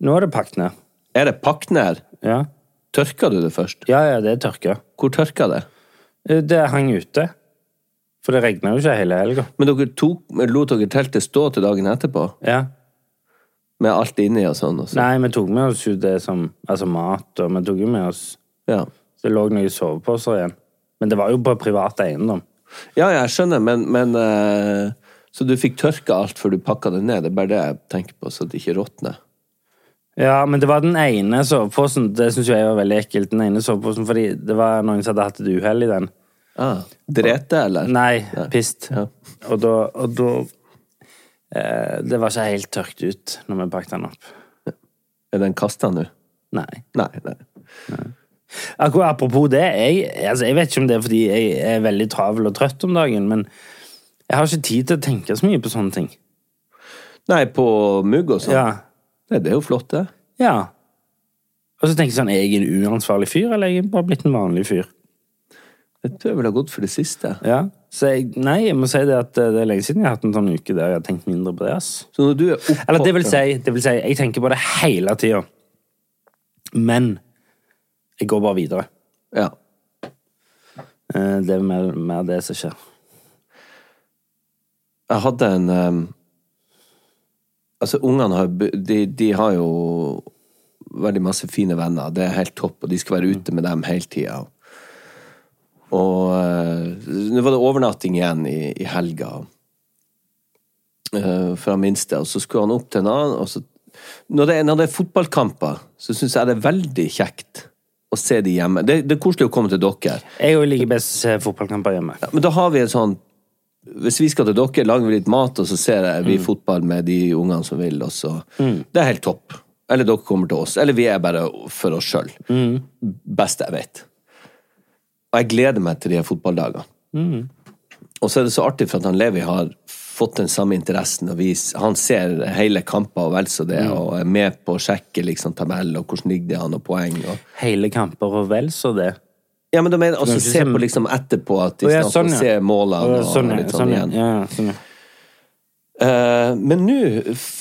Nå er det pakket ned.
Er det pakket ned?
Ja.
Tørka du det først?
ja, ja, det er tørke. Eh,
Hvor tørka det?
Det hang ute. For det regna jo ikke hele helga.
Men dere tok, lot dere teltet stå til dagen etterpå?
Ja.
Med alt inni og sånn? Og sånn.
Nei, vi tok med oss jo det som Altså mat, og vi tok jo med oss
Ja.
Så det lå noen soveposer igjen. Men det var jo på privat eiendom.
Ja, jeg skjønner, men, men eh, Så du fikk tørka alt før du pakka det ned? Det er bare det jeg tenker på, så det ikke råtner.
Ja, men det var den ene soveposen. Det syns jeg var veldig ekkelt. Den ene soveposen, fordi det var noen som hadde hatt et uhell i den.
Ah, Drete, eller?
Nei, pist.
Ja.
Og da, og da eh, Det var ikke helt tørkt ut når vi pakket den opp.
Er den kasta nå?
Nei.
Nei. nei.
Akkurat apropos det, jeg, altså, jeg vet ikke om det er fordi jeg er veldig travel og trøtt om dagen, men jeg har ikke tid til å tenke så mye på sånne ting.
Nei, på mugg og sånn?
Ja.
Nei, det er jo flott, det.
ja. Og så tenker jeg sånn, er jeg en uansvarlig fyr, eller er jeg bare blitt en vanlig fyr?
Jeg tror jeg ville ha gått for det siste.
Ja. Så jeg, nei, jeg må si det at eh, det er lenge siden jeg har hatt en sånn uke der jeg har tenkt mindre på det. ass.
Så når du er oppå
Eller det vil si, det vil si jeg tenker på det hele tida. Men jeg går bare videre.
Ja.
Eh, Det er mer, mer det som skjer.
Jeg hadde en um, Altså, ungene har, be- de, de har jo veldig masse fine venner. Det er helt topp, og de skal være ute med dem hele tida. Og eh, nå var det overnatting igjen i, i helga eh, fra minste, og så skulle han opp til en annen. Og så, når, det, er- når det er fotballkamper, så syns jeg det er veldig kjekt å se de hjemme. Det, det er koselig å komme til dere.
Jeg òg liker best å se fotballkamper hjemme.
Men da har vi en sånn Hvis vi skal til dere, lager vi litt mat, og så ser jeg
Mm.
vi fotball med de ungene som vil, og så Det er helt topp. Eller dere kommer til oss. Eller vi er bare for oss sjøl.
Mm.
Beste jeg vet. Og jeg gleder meg til de her fotballdagene.
Mm.
Og så er det så artig for at han Levi har fått den samme interessen, og vi, han ser hele kamper og vel så
Mm.
det, og er med på å sjekke liksom, tabell og hvordan ligger det an, og poeng og
Hele kamper og vel så det.
ja, men da mener jeg også
Men
se
liksom-
på liksom etterpå at de
Å, ja,
snakker
sånn, ja.
og ser målene
Ja,
og
sånn, ja,
litt sånn
sånn, ja.
igjen.
Ja, ja, sånn, ja.
Eh, men nå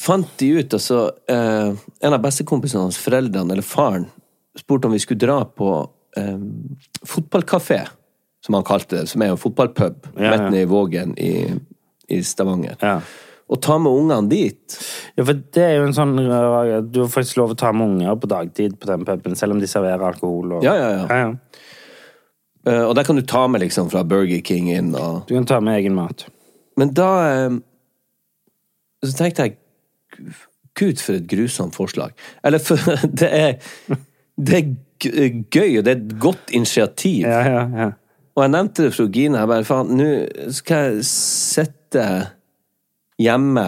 fant de ut, altså eh, En av bestekompisene hans, foreldrene eller faren, spurte om vi skulle dra på eh, fotballkafé, som han kalte det, som er en fotballpub
Ja,
rett
ja.
nede i Vågen i, i Stavanger.
Ja.
Og ta med ungene dit.
Ja, for det er jo en sånn rar- Du har faktisk lov å ta med unger på dagtid på den puben, selv om de serverer alkohol. Og...
Ja, ja, ja.
Ja, ja.
Eh, og der kan du ta med liksom fra Burger King inn og
Du kan ta med egen mat.
Men da eh, Så tenkte jeg Gud, for et grusomt forslag. Eller for Det er, det er g- gøy, og det er et godt initiativ.
Ja, ja, ja.
Og jeg nevnte det for Gine. Jeg bare faen, nå skal jeg sitte hjemme.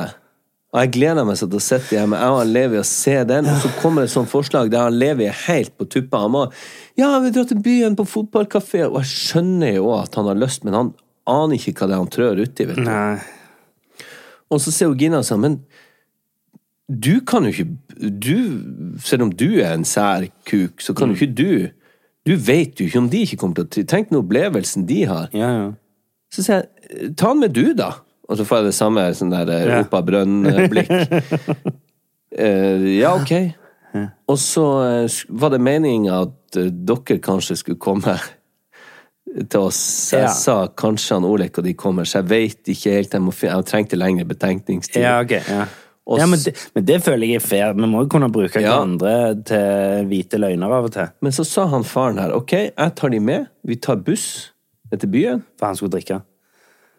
Og jeg gleder meg sånn til å sitte hjemme jeg og han Levi og se den, og så kommer det et sånt forslag der han Levi er helt på tuppa. Han må Ja, vi drar til byen på fotballkafé. Og jeg skjønner jo at han har lyst, men han aner ikke hva det er han trør uti. vet du.
Nei.
Og så ser jo Gina sånn, men du kan jo ikke du, Selv om du er en sær kuk, så
Mm.
kan jo ikke du Du vet jo ikke om de ikke kommer til å tri- Tenk den opplevelsen de har.
Ja, ja.
Så sier jeg, ta den med du, da. Og så får jeg det samme sånn der eh,
Ja.
opp av brønn-blikk. Eh, ja, ok. Og så eh, s- var det meninga at eh, dere kanskje skulle komme til oss. Jeg
Ja.
sa kanskje han Olek og de kommer, så jeg veit ikke helt. Jeg, må, fin- jeg trengte lengre betenkningstid.
Ja, ok. Ja.
Og
Ja, men,
s-
det, men det føler jeg er fair. Vi må jo kunne bruke
Ja.
hverandre til hvite løgner av og til.
Men så sa han faren her, ok, jeg tar de med, vi tar buss ned til byen.
For han skulle drikke.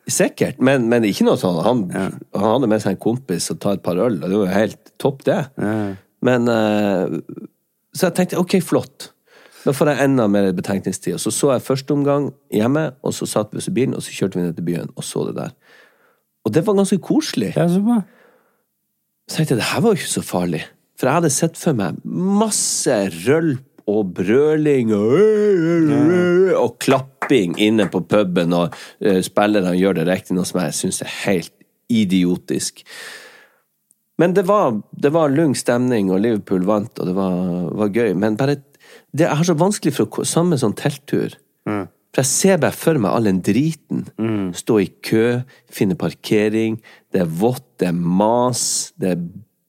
Sikkert, men, men ikke noe sånn. Han, han hadde med seg en kompis og ta et par øl, og det var jo helt topp det. Men, eh, så jeg tenkte, ok, flott. Da får jeg enda mer betenkningstid. Og så så jeg første omgang hjemme, og så satt vi oss i bilen, og så kjørte vi ned til byen og så det der. Og det var ganske koselig.
Ja, så bra.
Så tenkte jeg, det her var jo ikke så farlig. For jeg hadde sett for meg masse rølp og brøling og, og klapping inne på puben, og eh, spillerne gjør det riktig, noe som jeg syns er helt idiotisk. Men det var, det var lung stemning, og Liverpool vant, og det var, var gøy. Men bare, det jeg har så vanskelig for å ko- Samme som telttur. For jeg ser bare for meg all den driten. Stå i kø, finne parkering. Det er vått, det er mas, det er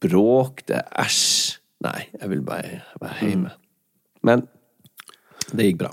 bråk, det er æsj. Nei, jeg vil bare være hjemme. Men det gikk bra.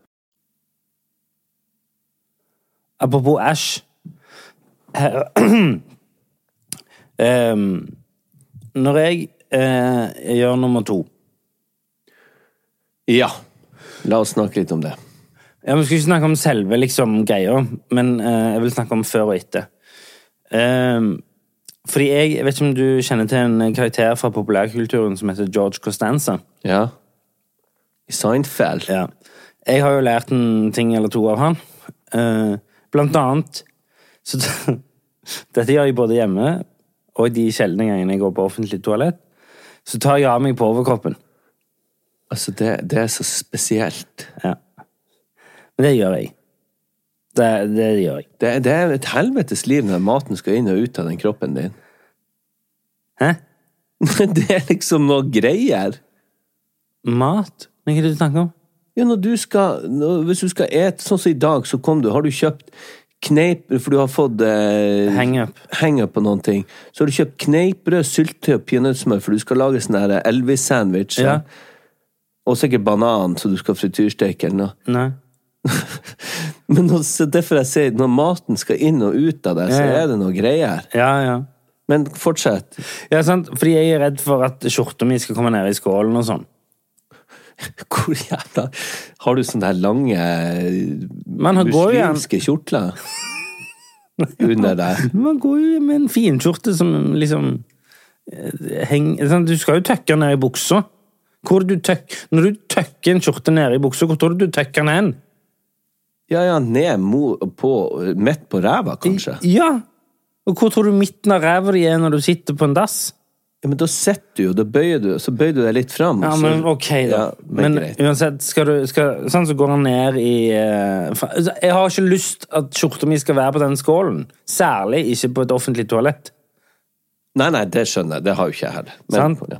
Apropos Ash Eh, um, Når jeg eh, gjør nummer to
Ja. La oss snakke litt om det.
Ja, Vi skal ikke snakke om selve liksom, greia, men eh, jeg vil snakke om før og etter. Ehm, fordi jeg, jeg vet ikke om du kjenner til en karakter fra populærkulturen som heter George Costanza.
Ja. I Seinfeld.
Ja. Jeg har jo lært en ting eller to av han. Eh, blant annet så Dette gjør jeg både hjemme og de sjeldne gangene jeg går på offentlig toalett. Så tar jeg av meg på overkroppen.
Altså, det, det er så spesielt.
Men det gjør jeg. Det, det gjør jeg.
Det, det er et helvetes liv når maten skal inn og ut av den kroppen din.
Hæ?
Det er liksom noe greier.
Mat? Men Hva er det du snakker om?
Ja, når du skal, når, hvis du skal ete, sånn som i dag, så kom du, har du kjøpt kneip, for du har fått eh,
Hang-up.
hang-up på noen ting, så har du kjøpt kneippbrød, syltetøy og peanøttsmør, for du skal lage sånn der Elvis-sandwich,
Ja.
og sikkert banan, så du skal frityrsteke eller noe.
Nei.
Men nå, så derfor jeg sier, når maten skal inn og ut av deg, så
Ja, ja.
er det noe greier.
Ja, ja.
Men fortsett.
Ja, sant? Fordi jeg er redd for at skjorta mi skal komme ned i skålen og sånn.
Hvor jævla Har du sånne her lange
Men han går jo igjen.
muslimske kjortler under deg?
Man går jo med en finskjorte som liksom eh, heng, sånn, Du skal jo tøkke ned i buksa. Hvor du tøk, når du tøkker en skjorte ned i buksa, hvor tror du du tøkker den hen?
Ja, ja, ned mo- på Midt på ræva, kanskje?
Ja! Og hvor tror du midten av ræva di er når du sitter på en dass?
Ja, men da sitter du jo, da bøyer du, så bøyer du deg litt fram.
Ja,
så-
men ok, da.
Ja, men
men
greit.
uansett, skal du, skal, sånn så går han ned i eh, fa- altså, Jeg har ikke lyst at skjorta mi skal være på den skålen. Særlig ikke på et offentlig toalett.
Nei, nei, det skjønner jeg. Det har jo ikke jeg heller. Men-
Sant?
ja.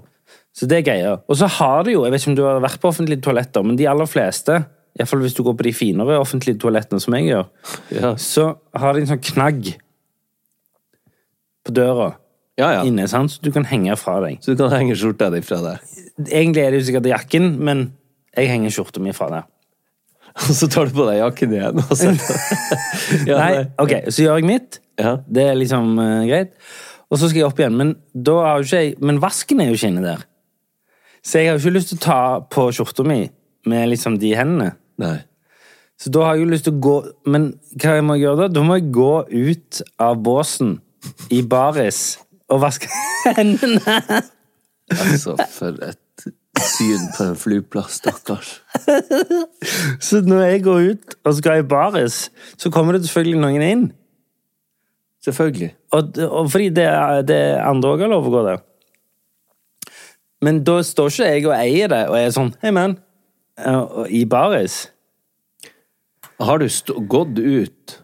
Så det er greia. Og så har du jo, jeg vet ikke om du har vært på offentlige toaletter, men de aller fleste, iallfall hvis du går på de finere offentlige toalettene som jeg gjør,
Ja.
så har de en sånn knagg på døra
Ja, ja.
inne, sant? så du kan henge fra deg.
Så du kan henge skjorta di fra deg.
Egentlig er det jo sikkert jakken, men jeg henger skjorta mi fra der.
Og så tar du på deg jakken igjen. Og så. ja,
Nei, ok, så gjør jeg mitt.
Ja.
Det er liksom eh, greit. Og så skal jeg opp igjen, men, da har jo ikke jeg, men vasken er jo ikke inne der. Så jeg har jo ikke lyst til å ta på skjorta mi med liksom de hendene.
Nei.
Så da har jeg jo lyst til å gå Men hva må jeg gjøre da? Da må jeg gå ut av båsen i baris og vaske hendene.
Altså, for et syn på en flyplass, stakkars.
Så når jeg går ut og skal i baris, så kommer det selvfølgelig noen inn.
Selvfølgelig.
Og, og fordi det, er- det er andre òg har lov å gå der. Men da står ikke jeg og eier det og er sånn Hei, man. eh, og- I baris.
Har du stå- gått ut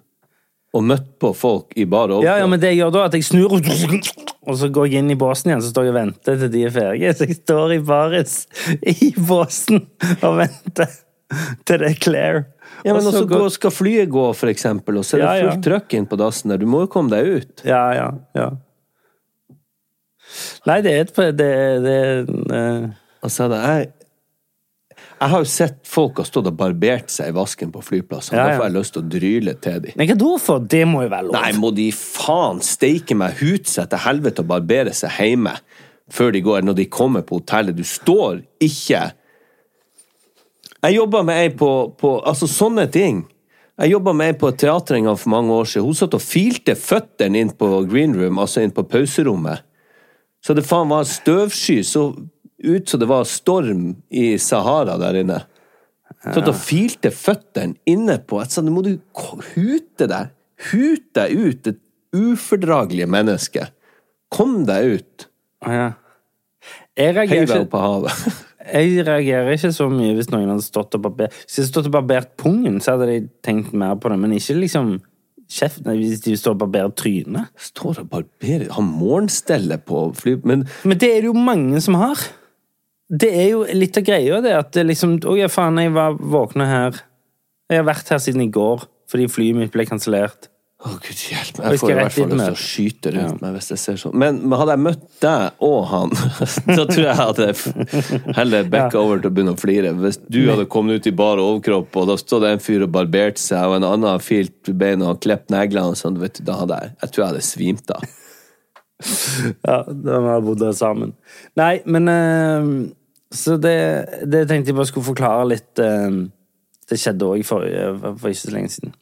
og møtt på folk i bar overkropp?
Ja, ja, men det jeg gjør da, er at jeg snur og og så går jeg inn i båsen igjen, så står jeg og venter til de er ferdige. Så jeg står i baris i båsen og venter til det er clear.
Ja, men
Og så
også
går-
Altså, gå, skal flyet gå, for eksempel, og så er det
Ja, ja.
fullt trøkk inn på dassen der. Du må jo komme deg ut.
Ja, ja, ja. Nei, det er et det, det, eh,
Altså, det er... Jeg har jo sett folk har stått og barbert seg i vasken på flyplassen.
Ja,
Da
ja.
får jeg lyst til å dryle til dem.
Nei, hva da for? Det må jo være lov.
Nei, må de faen steike meg hut seg til helvete og barbere seg hjemme før de går, når de kommer på hotellet. Du står ikke Jeg jobba med ei på, på Altså, sånne ting. Jeg jobba med ei på et teater en gang for mange år siden. Hun satt og filte føttene inn på green room, altså inn på pauserommet. Så det faen var støvsky så ut som det var storm i Sahara der inne. Satt og filte føttene inne på et sånt, nå må du ko- hute deg. Hute deg ut, det ufordragelige mennesket. Kom deg ut.
Ja. Jeg
Hei
reagerer,
deg opp
ikke,
på havet.
jeg reagerer ikke så mye hvis noen hadde stått og barbert Hvis jeg hadde stått og barbert pungen, så hadde jeg tenkt mer på det, men ikke liksom kjeft, nei, hvis de står og barberer trynet.
Står og barberer Har morgenstellet på fly... Men
Men det er det jo mange som har. Det er jo litt av greia, det at det liksom Å ja, faen, jeg var våkna her. Jeg har vært her siden i går fordi flyet mitt ble kansellert.
Å, gud hjelp meg.
Vi
Jeg
skal
får i
rett
hvert fall
inn
lyst til
der.
å skyte rundt meg hvis jeg ser sånn. Men, men hadde jeg møtt deg og han, så tror jeg hadde jeg heller backa over til å begynne å flire. Hvis du hadde kommet ut i bar overkropp, og da stod det en fyr og barberte seg, og en annen har filt beina og klippet neglene, og sånn, vet du, da hadde jeg Jeg tror jeg hadde svimt av.
Ja, da vi har bodd der sammen. Nei, men eh, Så det, det tenkte jeg bare skulle forklare litt. eh, det skjedde òg for, for ikke så lenge siden.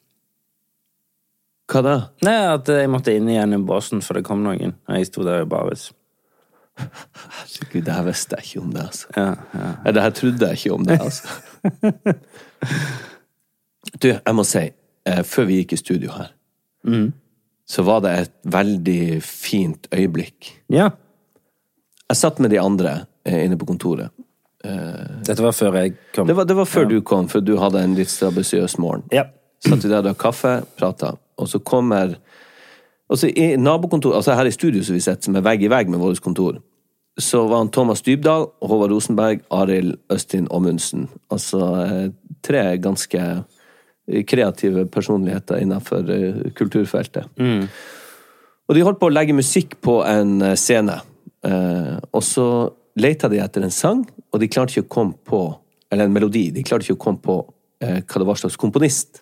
Hva da?
Nei, At jeg måtte inn igjen i båsen, for det kom noen. Og jeg sto der i baris.
Herregud, det her visste jeg ikke om deg, altså. Nei, Det her trodde jeg ikke om deg, altså. Du, jeg må si, eh, før vi gikk i studio her, Mm. så var det et veldig fint øyeblikk.
Ja.
Jeg satt med de andre eh, inne på kontoret.
Dette var før jeg kom.
Det var, det var før du kom, for du hadde en litt strabasiøs morgen.
Ja.
Satt vi der og drakk kaffe, prata, og så kommer Og så i nabokontoret, altså her i studio som vi sitter, som er vegg i vegg med vårt kontor, så var han Thomas Dybdahl, Håvard Rosenberg, Arild Østin Ommundsen. Altså eh, tre ganske eh, kreative personligheter innenfor eh, kulturfeltet. Og de holdt på å legge musikk på en eh, scene. Eh, og så leita de etter en sang, og de klarte ikke å komme på Eller en melodi. De klarte ikke å komme på eh, hva det var slags komponist.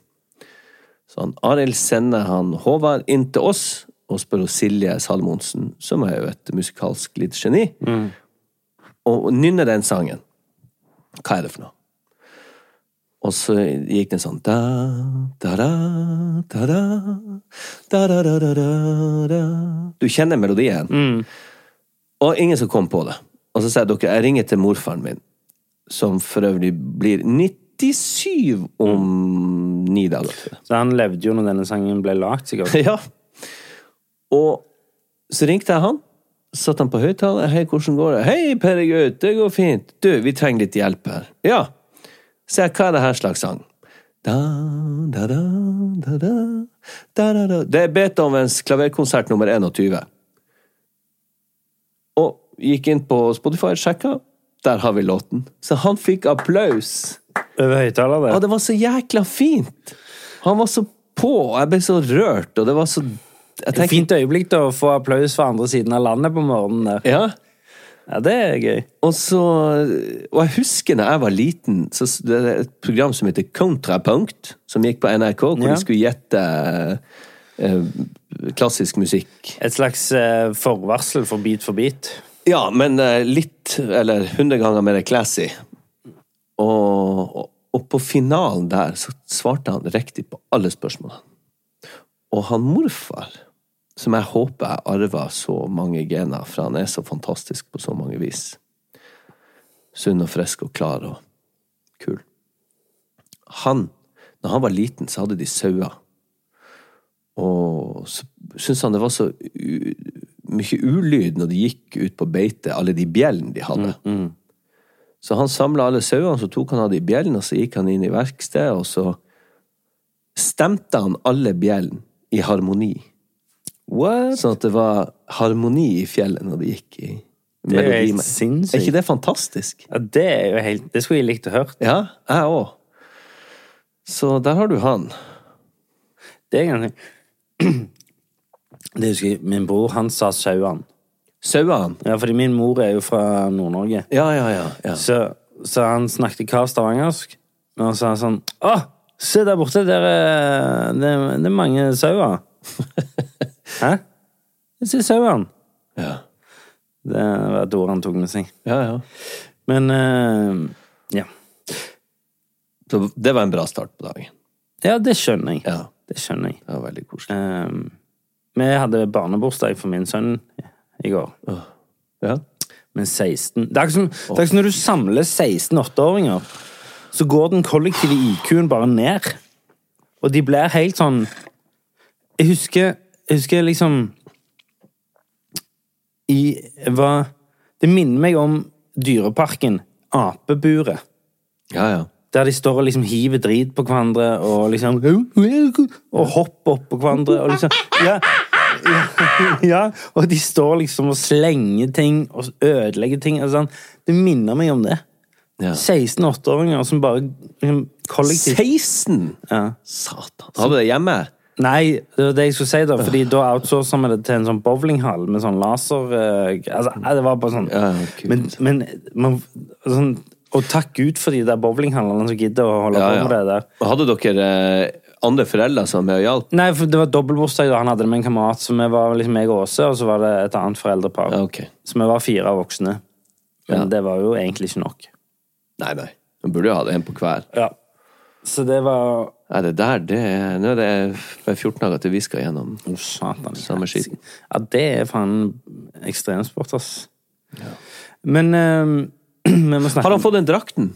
Så han Arild sender han Håvard inn til oss og spør hos Silje Salmonsen, som er jo et musikalsk lite geni, og nynner den sangen. Hva er det for noe? Og så gikk den sånn da, da, da, da, da, da, da, da, da, da, da. Du kjenner melodien. Og ingen som kom på det. Og så sier jeg dere, jeg ringer til morfaren min, som for øvrig blir 97 om ni dager.
Så han levde jo når denne sangen ble lagd, sikkert.
Ja. Og så ringte jeg han. satte han på høyttaler. Hei, hvordan går det? Hei, Pere Gaut, det går fint. Du, vi trenger litt hjelp her. Ja. Se, hva er det her slags sang? Da, da, da, da, da, da, da, da. Det er Beethovens klaverkonsert nummer 21. Og gikk inn på Spotify, sjekka. Der har vi låten. Så han fikk applaus.
Over høyttaler,
Ja,
det.
det var så jækla fint! Han var så på, og jeg ble så rørt, og det var så jeg
Et
tenker,
fint øyeblikk da, å få applaus fra andre siden av landet på morgenen der.
Ja,
Ja, det er gøy.
og så Og jeg husker da jeg var liten, så s- det er et program som heter Kontrapunkt, som gikk på NRK, hvor
Ja.
de skulle gjette eh, klassisk musikk.
Et slags eh, forvarsel for Beat for beat.
Ja, men eh, litt, eller hundre ganger mer classy. Og, og, og på finalen der så svarte han riktig på alle spørsmålene. Og han morfar, som jeg håper jeg arva så mange gener fra, han er så fantastisk på så mange vis. Sunn og frisk og klar og kul. Han, når han var liten, så hadde de sauer. Og så syntes han det var så u mye ulyd når de gikk ut på beite, alle de bjellene de hadde.
Mm,
Så han samla alle sauene, så tok han av de bjellene, og så gikk han inn i verkstedet, og så stemte han alle bjellene i harmoni.
What?
Sånn at det var harmoni i fjellet når de gikk i
Det er jo helt
melodime-
sinnssykt.
Er ikke det fantastisk?
Ja, det er jo helt Det skulle jeg likt å høre.
Ja, jeg òg. Så der har du han.
Det er ganske Det husker jeg. Min bror, han sa sauene.
Sauene.
Ja, fordi min mor er jo fra Nord-Norge.
Ja, ja, ja. ja.
Så, så han snakket hva stavangersk. Men han sa sånn Å, se der borte, der er Det, det er mange sauer. Hæ? Se sauene.
ja.
Det var et ord han tok med seg.
ja, ja.
Men eh, ja.
Så det var en bra start på dagen.
Ja, det skjønner jeg.
Ja.
Det skjønner jeg.
Det var veldig koselig.
Ehm, vi hadde barnebursdag for min sønn i går.
Ja.
Men 16 Det er ikke som, det er ikke som når du samler 16-8-åringer, så går den kollektive IQ-en bare ned. Og de blir helt sånn Jeg husker, jeg husker liksom I hva Det minner meg om Dyreparken. Apeburet.
Ja, ja.
Der de står og liksom hiver drit på hverandre og liksom Og hopper opp på hverandre og liksom Ja. Ja, og de står liksom og slenger ting og ødelegger ting. Altså, sånn. det minner meg om det.
ja.
16-8-åringer som bare liksom, kollektivt
16!
Ja.
Satan. Har du det hjemme?
Nei, det var det jeg skulle si, da. Fordi da outsourcer vi det til en sånn bowlinghall med sånn laser eh, Altså, nei, det var bare sånn
Ja, kult.
Men, men man, sånn, Og takk Gud for de der bowlinghallene som gidder å holde på med det der.
Og Hadde dere eh, andre foreldre som var med og hjalp?
Nei, for det var dobbeltbursdag da han hadde det med en kamerat. Så vi var liksom meg og Åse, og så var det et annet foreldrepar.
Ja, ok.
Så vi var fire voksne.
Ja.
Men det var jo egentlig ikke nok.
Nei, nei. Man burde jo ha det en på hver.
Ja. Så det var
Nei, det der, det er Nå er det bare 14 dager til vi skal gjennom.
Å, satan.
Samme skiten.
Ja, det er faen ekstremsport, ass. Men eh, vi må snakke
Har han fått den drakten?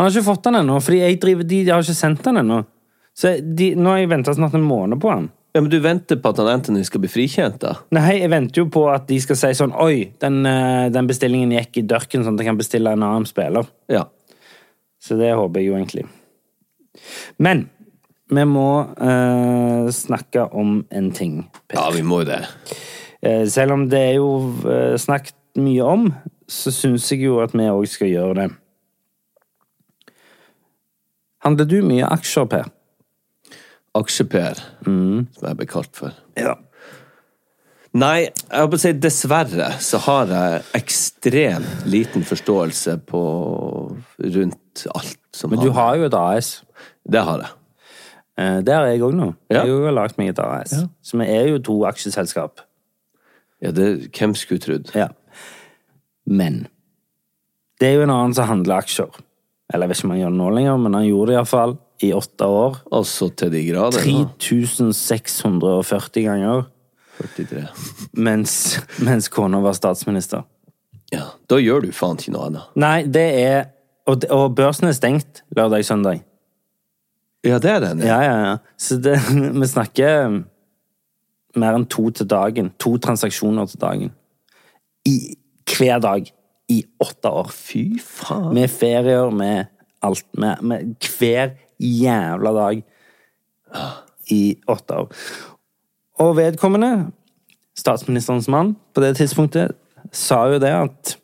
Han har ikke fått den ennå, fordi jeg driver, de, de har ikke sendt den ennå. Så de, nå har jeg venta snart en måned på han.
Ja, men Du venter på at han Anthony skal bli frikjent, da?
Nei, jeg venter jo på at de skal si sånn Oi, den, eh, den bestillingen gikk i dørken, sånn at jeg kan bestille en annen spiller.
Ja.
Så det håper jeg jo egentlig. Men vi må eh, snakke om en ting, Per.
Ja, vi må jo det.
Eh, selv om det er jo eh, snakket mye om, så syns jeg jo at vi òg skal gjøre det. Handler du mye aksjer, Per?
Aksjeper, som jeg ble kalt for.
Ja.
Nei, jeg holdt på å si dessverre så har jeg ekstremt liten forståelse på rundt alt som
Men du har jo et AS.
Det har jeg.
Eh, der er jeg òg nå.
Ja.
Jeg har jo lagd meg et AS. Så vi er jo to aksjeselskap.
Ja, det, hvem skulle trodd?
Ja. Men det er jo en annen som handler aksjer. Eller jeg vet ikke om han gjør det nå lenger, men han gjorde det iallfall i åtte år.
Altså til de grader. nå.
3640 ganger
43.
mens, mens kona var statsminister.
Ja, da gjør du faen ikke noe annet.
Nei, det er Og, det- og børsen er stengt lørdag-søndag.
Ja, det er den.
Ja, ja, ja. Så det, um, vi snakker mer enn to til dagen. To transaksjoner til dagen. i hver dag i åtte år.
Fy faen.
Med ferier, med alt. Med, med hver jævla dag i åtte år. Og vedkommende, statsministerens mann på det tidspunktet, sa jo det at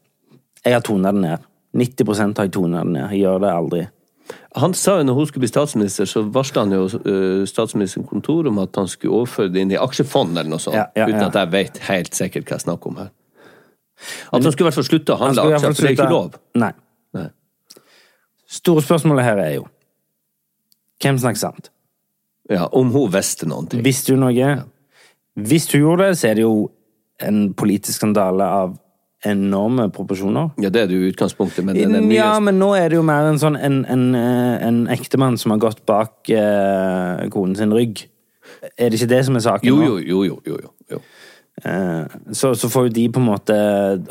jeg har tona det ned. 90 har jeg tona det ned. Jeg gjør det aldri.
Han sa jo når hun skulle bli statsminister, så varsla han jo eh, statsministerens kontor om at han skulle overføre det inn i aksjefond eller noe sånt,
Ja, ja,
uten
ja.
at jeg vet helt sikkert hva jeg snakker om her. At han skulle i hvert fall slutte å handle
skulle i hvert
aksjer,
fall
for det er ikke lov.
slutte- Nei.
Nei.
Store spørsmålet her er jo Hvem snakker sant?
Ja, Om hun visste noen ting.
Visste hun noe? Hvis hun gjorde det, så er det jo en politisk skandale av enorme proporsjoner.
Ja, det er det jo i utgangspunktet, men den er mye
ja, men nå er det jo mer en sånn en, en, eh, en ektemann som har gått bak eh, konen sin rygg. Er det ikke det som er saken
Jo,
nå?
jo, jo, jo, jo, jo. jo.
Eh, så, så får jo de på en måte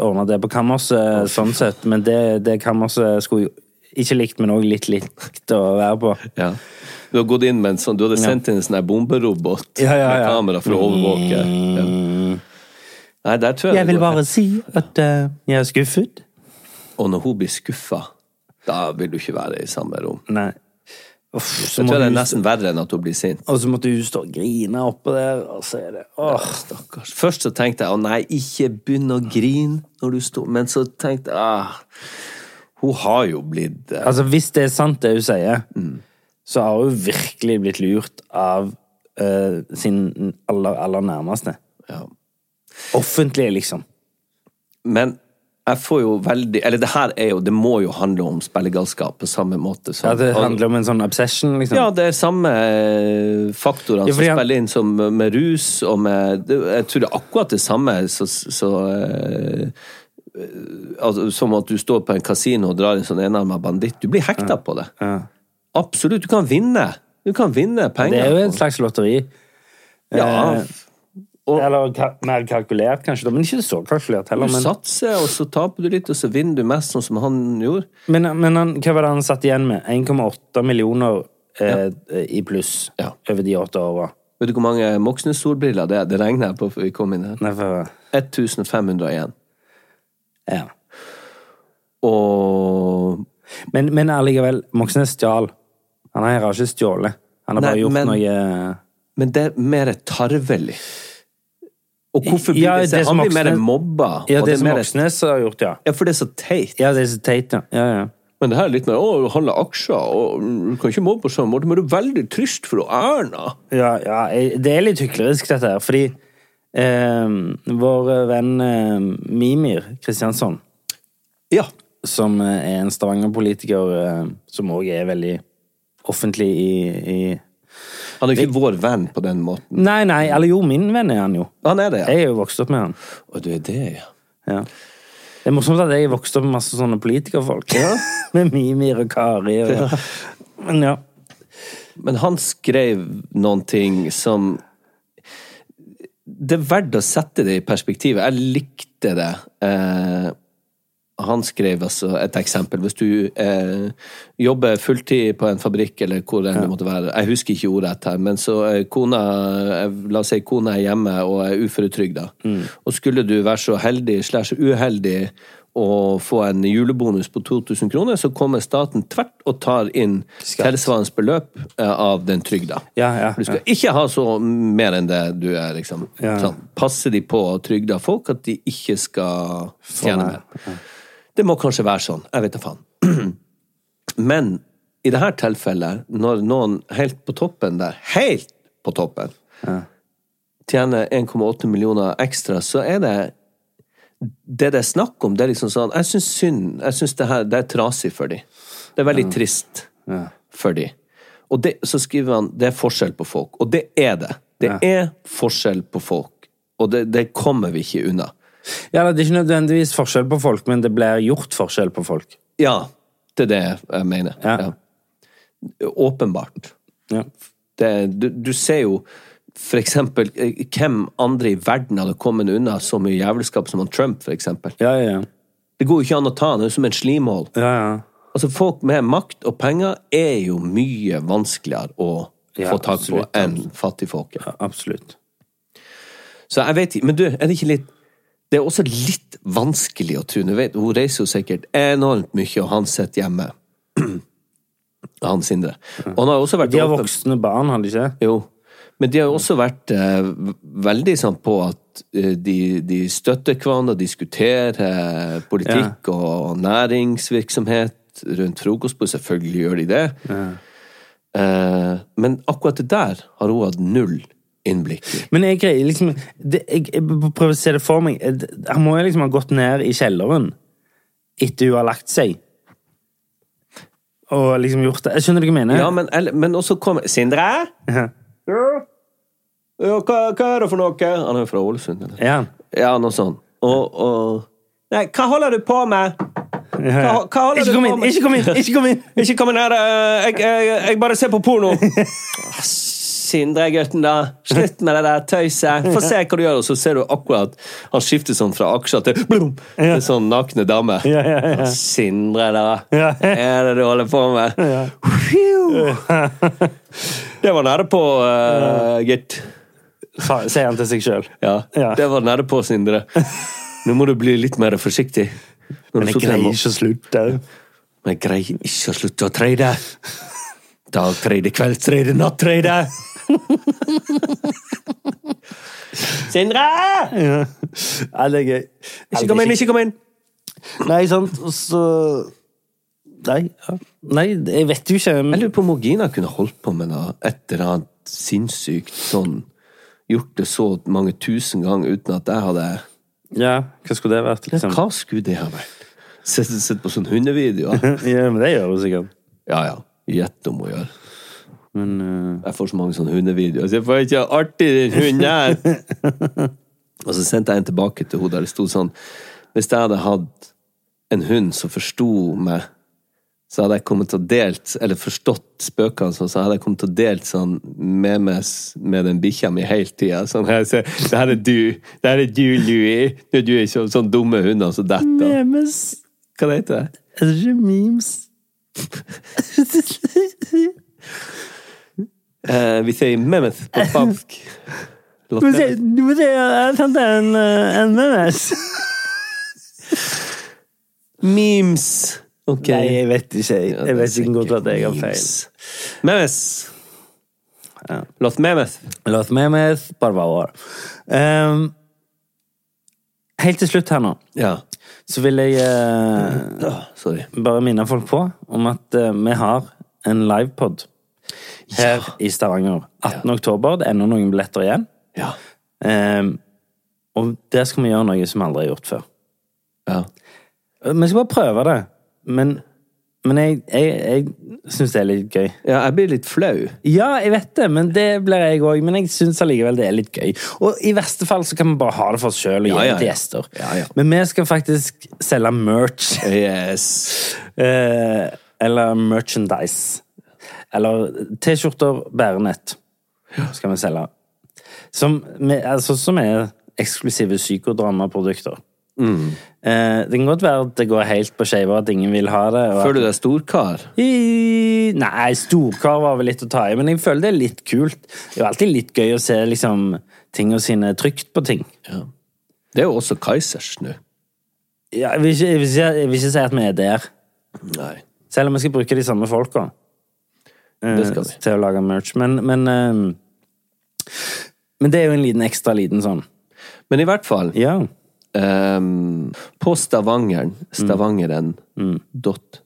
ordna det på kammerset, sånn sett. Men det, det kammerset skulle jo ikke likt, men òg litt likt å være på.
Ja. Du har gått inn med en sånn, du hadde sendt inn en sånn her bomberobot
Ja, ja,
med
ja.
kamera for å overvåke. Ja.
Mm.
Nei, der tror jeg,
Jeg
det
vil
går
bare si at eh, jeg er skuffet.
helt- Og når hun blir skuffa, da vil du ikke være i samme rom.
Nei. Uff, så
Jeg
må
tror det er
hun
nesten verre enn at hun blir sint.
Og så måtte hun stå og grine oppå der, og så er det åh.
Stakkars. Først så tenkte jeg å nei, ikke begynn å grine når du står Men så tenkte jeg ah, hun har jo blitt eh,
Altså, hvis det er sant det hun sier, så har hun virkelig blitt lurt av eh, sin aller, aller nærmeste.
ja.
Offentlige, liksom.
Men jeg får jo veldig Eller det her er jo Det må jo handle om spillegalskap på samme måte som
At det handler om en sånn obsession, liksom.
Ja, det er samme eh, faktorene
Ja,
som
fordi han-
spiller inn, som med rus og med det, Jeg tror det er akkurat det samme så, så, eh, eh, altså, som at du står på en kasino og drar en sånn enarma banditt. Du blir hekta på det. Absolutt. Du kan vinne. Du kan vinne penger.
det er jo et slags lotteri.
ja,
Eller ka mer kalkulert, kanskje, da, men ikke så
Du
kalkulert heller. Men,
satser, og så taper du litt, og så vinner du mest, sånn som han gjorde.
men, men han, hva var det han satt igjen med? 1,8 millioner eh, i pluss
Ja.
over de åtte åra.
Vet du hvor mange Moxnes-solbriller det er? Det regner jeg på før vi kom inn her.
Nei, for-
1501.
Ja.
Og
Men, men allikevel, Moxnes stjal. Han har ikke stjålet. Han har
Nei,
bare gjort
men-
noe eh,
Men det er mer tarvelig. Og hvorfor blir
Ja,
det
det
sånn?
som
Han blir mer
Moxnes-
mobba.
Ja,
og
det, som
er mer-
Moxnes har gjort, ja.
Ja, for det er så teit.
Ja, det er så teit, ja. ja, ja.
Men det her er litt mer å handle aksjer, og du kan ikke mobbe på samme måte, men du er veldig trist for å Erna.
ja, ja jeg- det er litt hyklerisk, dette her, fordi eh, vår venn eh, Mimir Kristiansson,
Ja.
som eh, er en Stavanger-politiker eh, som òg er veldig offentlig i, i
Han er ikke vår venn på den måten.
Nei, nei, eller jo, min venn er han jo.
Han er det, ja.
Jeg er jo vokst opp med han.
Og det er det, ja.
Ja. Det er morsomt at jeg vokste opp med masse sånne politikerfolk. med Mimir og Kari. Og, Men ja.
Men han skrev noen ting som Det er verdt å sette det i perspektivet. Jeg likte det. Eh, han skrev altså et eksempel. Hvis du eh, jobber fulltid på en fabrikk, eller hvor enn det måtte være Jeg husker ikke ordrett her, men så eh, kona eh, La oss si kona er hjemme og er uføretrygda. Og skulle du være så heldig slash uheldig å få en julebonus på 2000 kroner, så kommer staten tvert og tar inn tilsvarende beløp eh, av den trygda.
Ja, ja,
du skal ikke ha så mer enn det du er, liksom. Sånn. Passer de på trygda folk at de ikke skal tjene
nei.
mer? Det må kanskje være sånn. Jeg vet da faen. Men i dette tilfellet, når noen helt på toppen der, helt på toppen, tjener 1,8 millioner ekstra, så er det det det er snakk om, det er liksom sånn Jeg syns synd. Jeg syns det her det er trasig for de. Det er veldig trist for de. Og det, så skriver han det er forskjell på folk. Og det er det. Det er forskjell på folk. Og det, det kommer vi ikke unna.
ja, det er ikke nødvendigvis forskjell på folk, men det blir gjort forskjell på folk.
Ja, det er det jeg mener.
Ja.
Ja. Åpenbart.
Ja.
Det, du, du ser jo for eksempel eh, hvem andre i verden hadde kommet unna så mye jævelskap som han Trump, for eksempel.
Ja, ja, ja.
Det går jo ikke an å ta han, han er jo som en slimål.
ja, ja.
Altså, folk med makt og penger er jo mye vanskeligere å
Ja,
få tak på
absolutt.
enn fattigfolket.
Absolutt.
Så jeg vet ikke Men du, er det ikke litt Det er også litt vanskelig å tro. Nå vet- Hun reiser jo sikkert enormt mye, og han sitter hjemme. han Sindre. Og han har jo også vært
De har
åpen-
voksne barn, har de ikke?
Jo. Men de har jo også vært eh, v- veldig sånn på at eh, de, de støtter hverandre og diskuterer eh, politikk og næringsvirksomhet rundt frokostbordet. Selvfølgelig gjør de det. Eh, men akkurat det der har hun hatt null innblikk i.
Men jeg greier liksom det, jeg, jeg prøver å se det for meg. Eh, det- Han må jo liksom ha gått ned i kjelleren etter hun har lagt seg. Og liksom gjort det. Jeg skjønner du hva jeg mener?
Ja, men, eller- men også kommer Sindre?
Ja.
Ja, hva, hva er det for noe? Han er jo fra Ålesund, eller?
Ja.
Ja, noe sånt. Og, og Nei, hva holder du på med? Hva, hva holder
Ikke
du
kom
på
inn!
med?
Ikke kom inn! Ikke kom inn!
Ikke kom inn her, eh, jeg, jeg, jeg bare ser på porno. Sindre, gutten, da. Slutt med det der tøyset. Få se hva du gjør, og så ser du akkurat han skifter sånn fra aksjer til blum, til sånn nakne dame. Ah, Sindre, da. Hva
Ja.
er det du holder på med? Phew. Det var nære på, eh, gitt.
Fa- Sier han til seg sjøl.
Ja,
Ja.
det var nære på, Sindre. Nå må du bli litt mer forsiktig. Når du
Men jeg
sitter hjemme
greier
og-
ikke å slutte.
Men jeg greier ikke å slutte å trade. Dag, trade, kveld, trade, natt, trade. Sindre!
Ja, det er gøy.
Ikke kom inn, ikke kom inn!
Nei, sant, og så Nei, ja. Nei, jeg vet jo ikke.
Jeg lurer på om Mogina kunne holdt på med noe et eller annet sinnssykt sånn. Gjort det så mange tusen ganger uten at jeg hadde
Ja, hva skulle det vært, liksom?
Hva skulle det ha vært? Sett, sett på sånne hundevideoer?
Ja, men det gjør hun sikkert.
Ja ja. Gjett om hun gjør.
Men eh,
Jeg får så mange sånne hundevideoer. Så jeg får ikke artig den hunden her! og så sendte jeg en tilbake til henne der det sto sånn Hvis jeg hadde hatt en hund som forsto meg, så hadde jeg kommet til å delt, eller forstått spøkene, sånn, så hadde jeg kommet til å delt sånn med meg s- med den bikkja mi hele tida. Sånn, her, se, det her er du. Det her er du, Louie. Du, du er sånn, sånn dumme hunder som detter.
Memes.
Hva det heter det?
Er det ikke memes?
Eh, vi sier memeth på spansk.
Du må si du må si at han er en, eh, en memes.
Memes. Ok.
Nei, jeg vet ikke. Jeg, jeg vet ikke godt at jeg har feil.
Memes. Låt Memes.
Låt memes, bare var år. Ehm, helt til slutt her nå,
Ja.
så vil jeg eh,
Ah, Sorry.
bare minne folk på om at eh, vi har en livepod her i Stavanger. 18. oktober, det er ennå noen billetter igjen.
Ja.
Ehm, og der skal vi gjøre noe som vi aldri har gjort før.
ja.
Eh, Vi skal bare prøve det. Men, men jeg, jeg, jeg syns det er litt gøy.
Ja, jeg blir litt flau.
Ja, jeg vet det, men det blir jeg òg. Men jeg syns allikevel det er litt gøy. Og i verste fall så kan vi bare ha det for oss sjøl og
Ja,
gi
ja,
det til
ja.
gjester.
Ja, ja.
Men vi skal faktisk selge merch.
Yes.
Eh, eller merchandise. Eller T-skjorter, bærenett, skal vi selge. Som, vi- altså, som er eksklusive psykodramaprodukter. Eh, det kan godt være at det går helt på skeiva, at ingen vil ha det. Og at
Føler du deg storkar?
i, nei, storkar var vel litt å ta i, men jeg føler det er litt kult. Det er jo alltid litt gøy å se liksom, tingene sine trygt på ting.
Det er jo også Kaizers nå.
Ja, jeg, vil ikke, jeg, vil ikke, jeg vil ikke si at vi er der,
Nei.
selv om vi skal bruke de samme folka eh,
Det skal vi.
til å lage merch. Men, men, eh, men det er jo en liten ekstra liten sånn.
Men i hvert fall
Ja.
ehm, På Stavangeren. Stavangeren. Dot.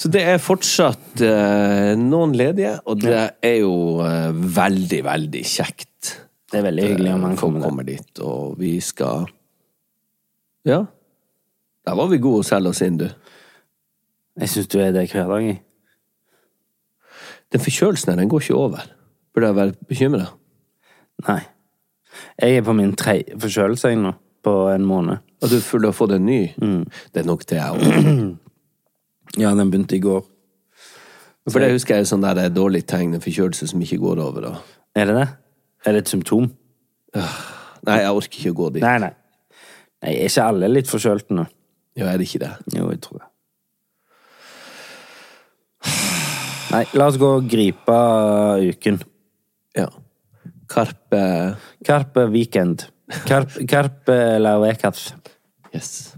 Så det er fortsatt eh, noen ledige, og det er jo eh, veldig, veldig kjekt.
Det er veldig hyggelig om han
Folk
kommer.
kommer dit, og vi skal Ja. Der var vi gode å selge oss inn, du.
Jeg syns du er det hver dag. jeg.
Den forkjølelsen her, den går ikke over. Burde jeg være bekymra?
Nei. Jeg er på min tredje forkjølelse jeg, nå, på en måned.
At du føler du har fått en ny? Det er nok det jeg òg.
Ja, den begynte i går.
For det husker jeg er sånn der det er dårlig tegn, en forkjølelse som ikke går over. Og...
Er det det? Er det et symptom?
Nei, jeg orker ikke å gå dit.
Nei, nei. Nei, Er ikke alle litt forkjølte nå?
Ja, er det ikke det?
Jo, jeg tror det. Nei, la oss gå og gripe uken.
Ja. Karpe
Karpe Weekend. Karp, karp lauekath.
Yes.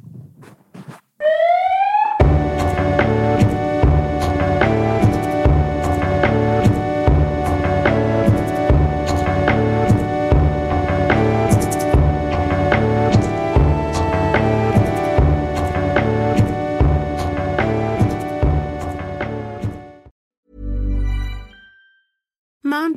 Mom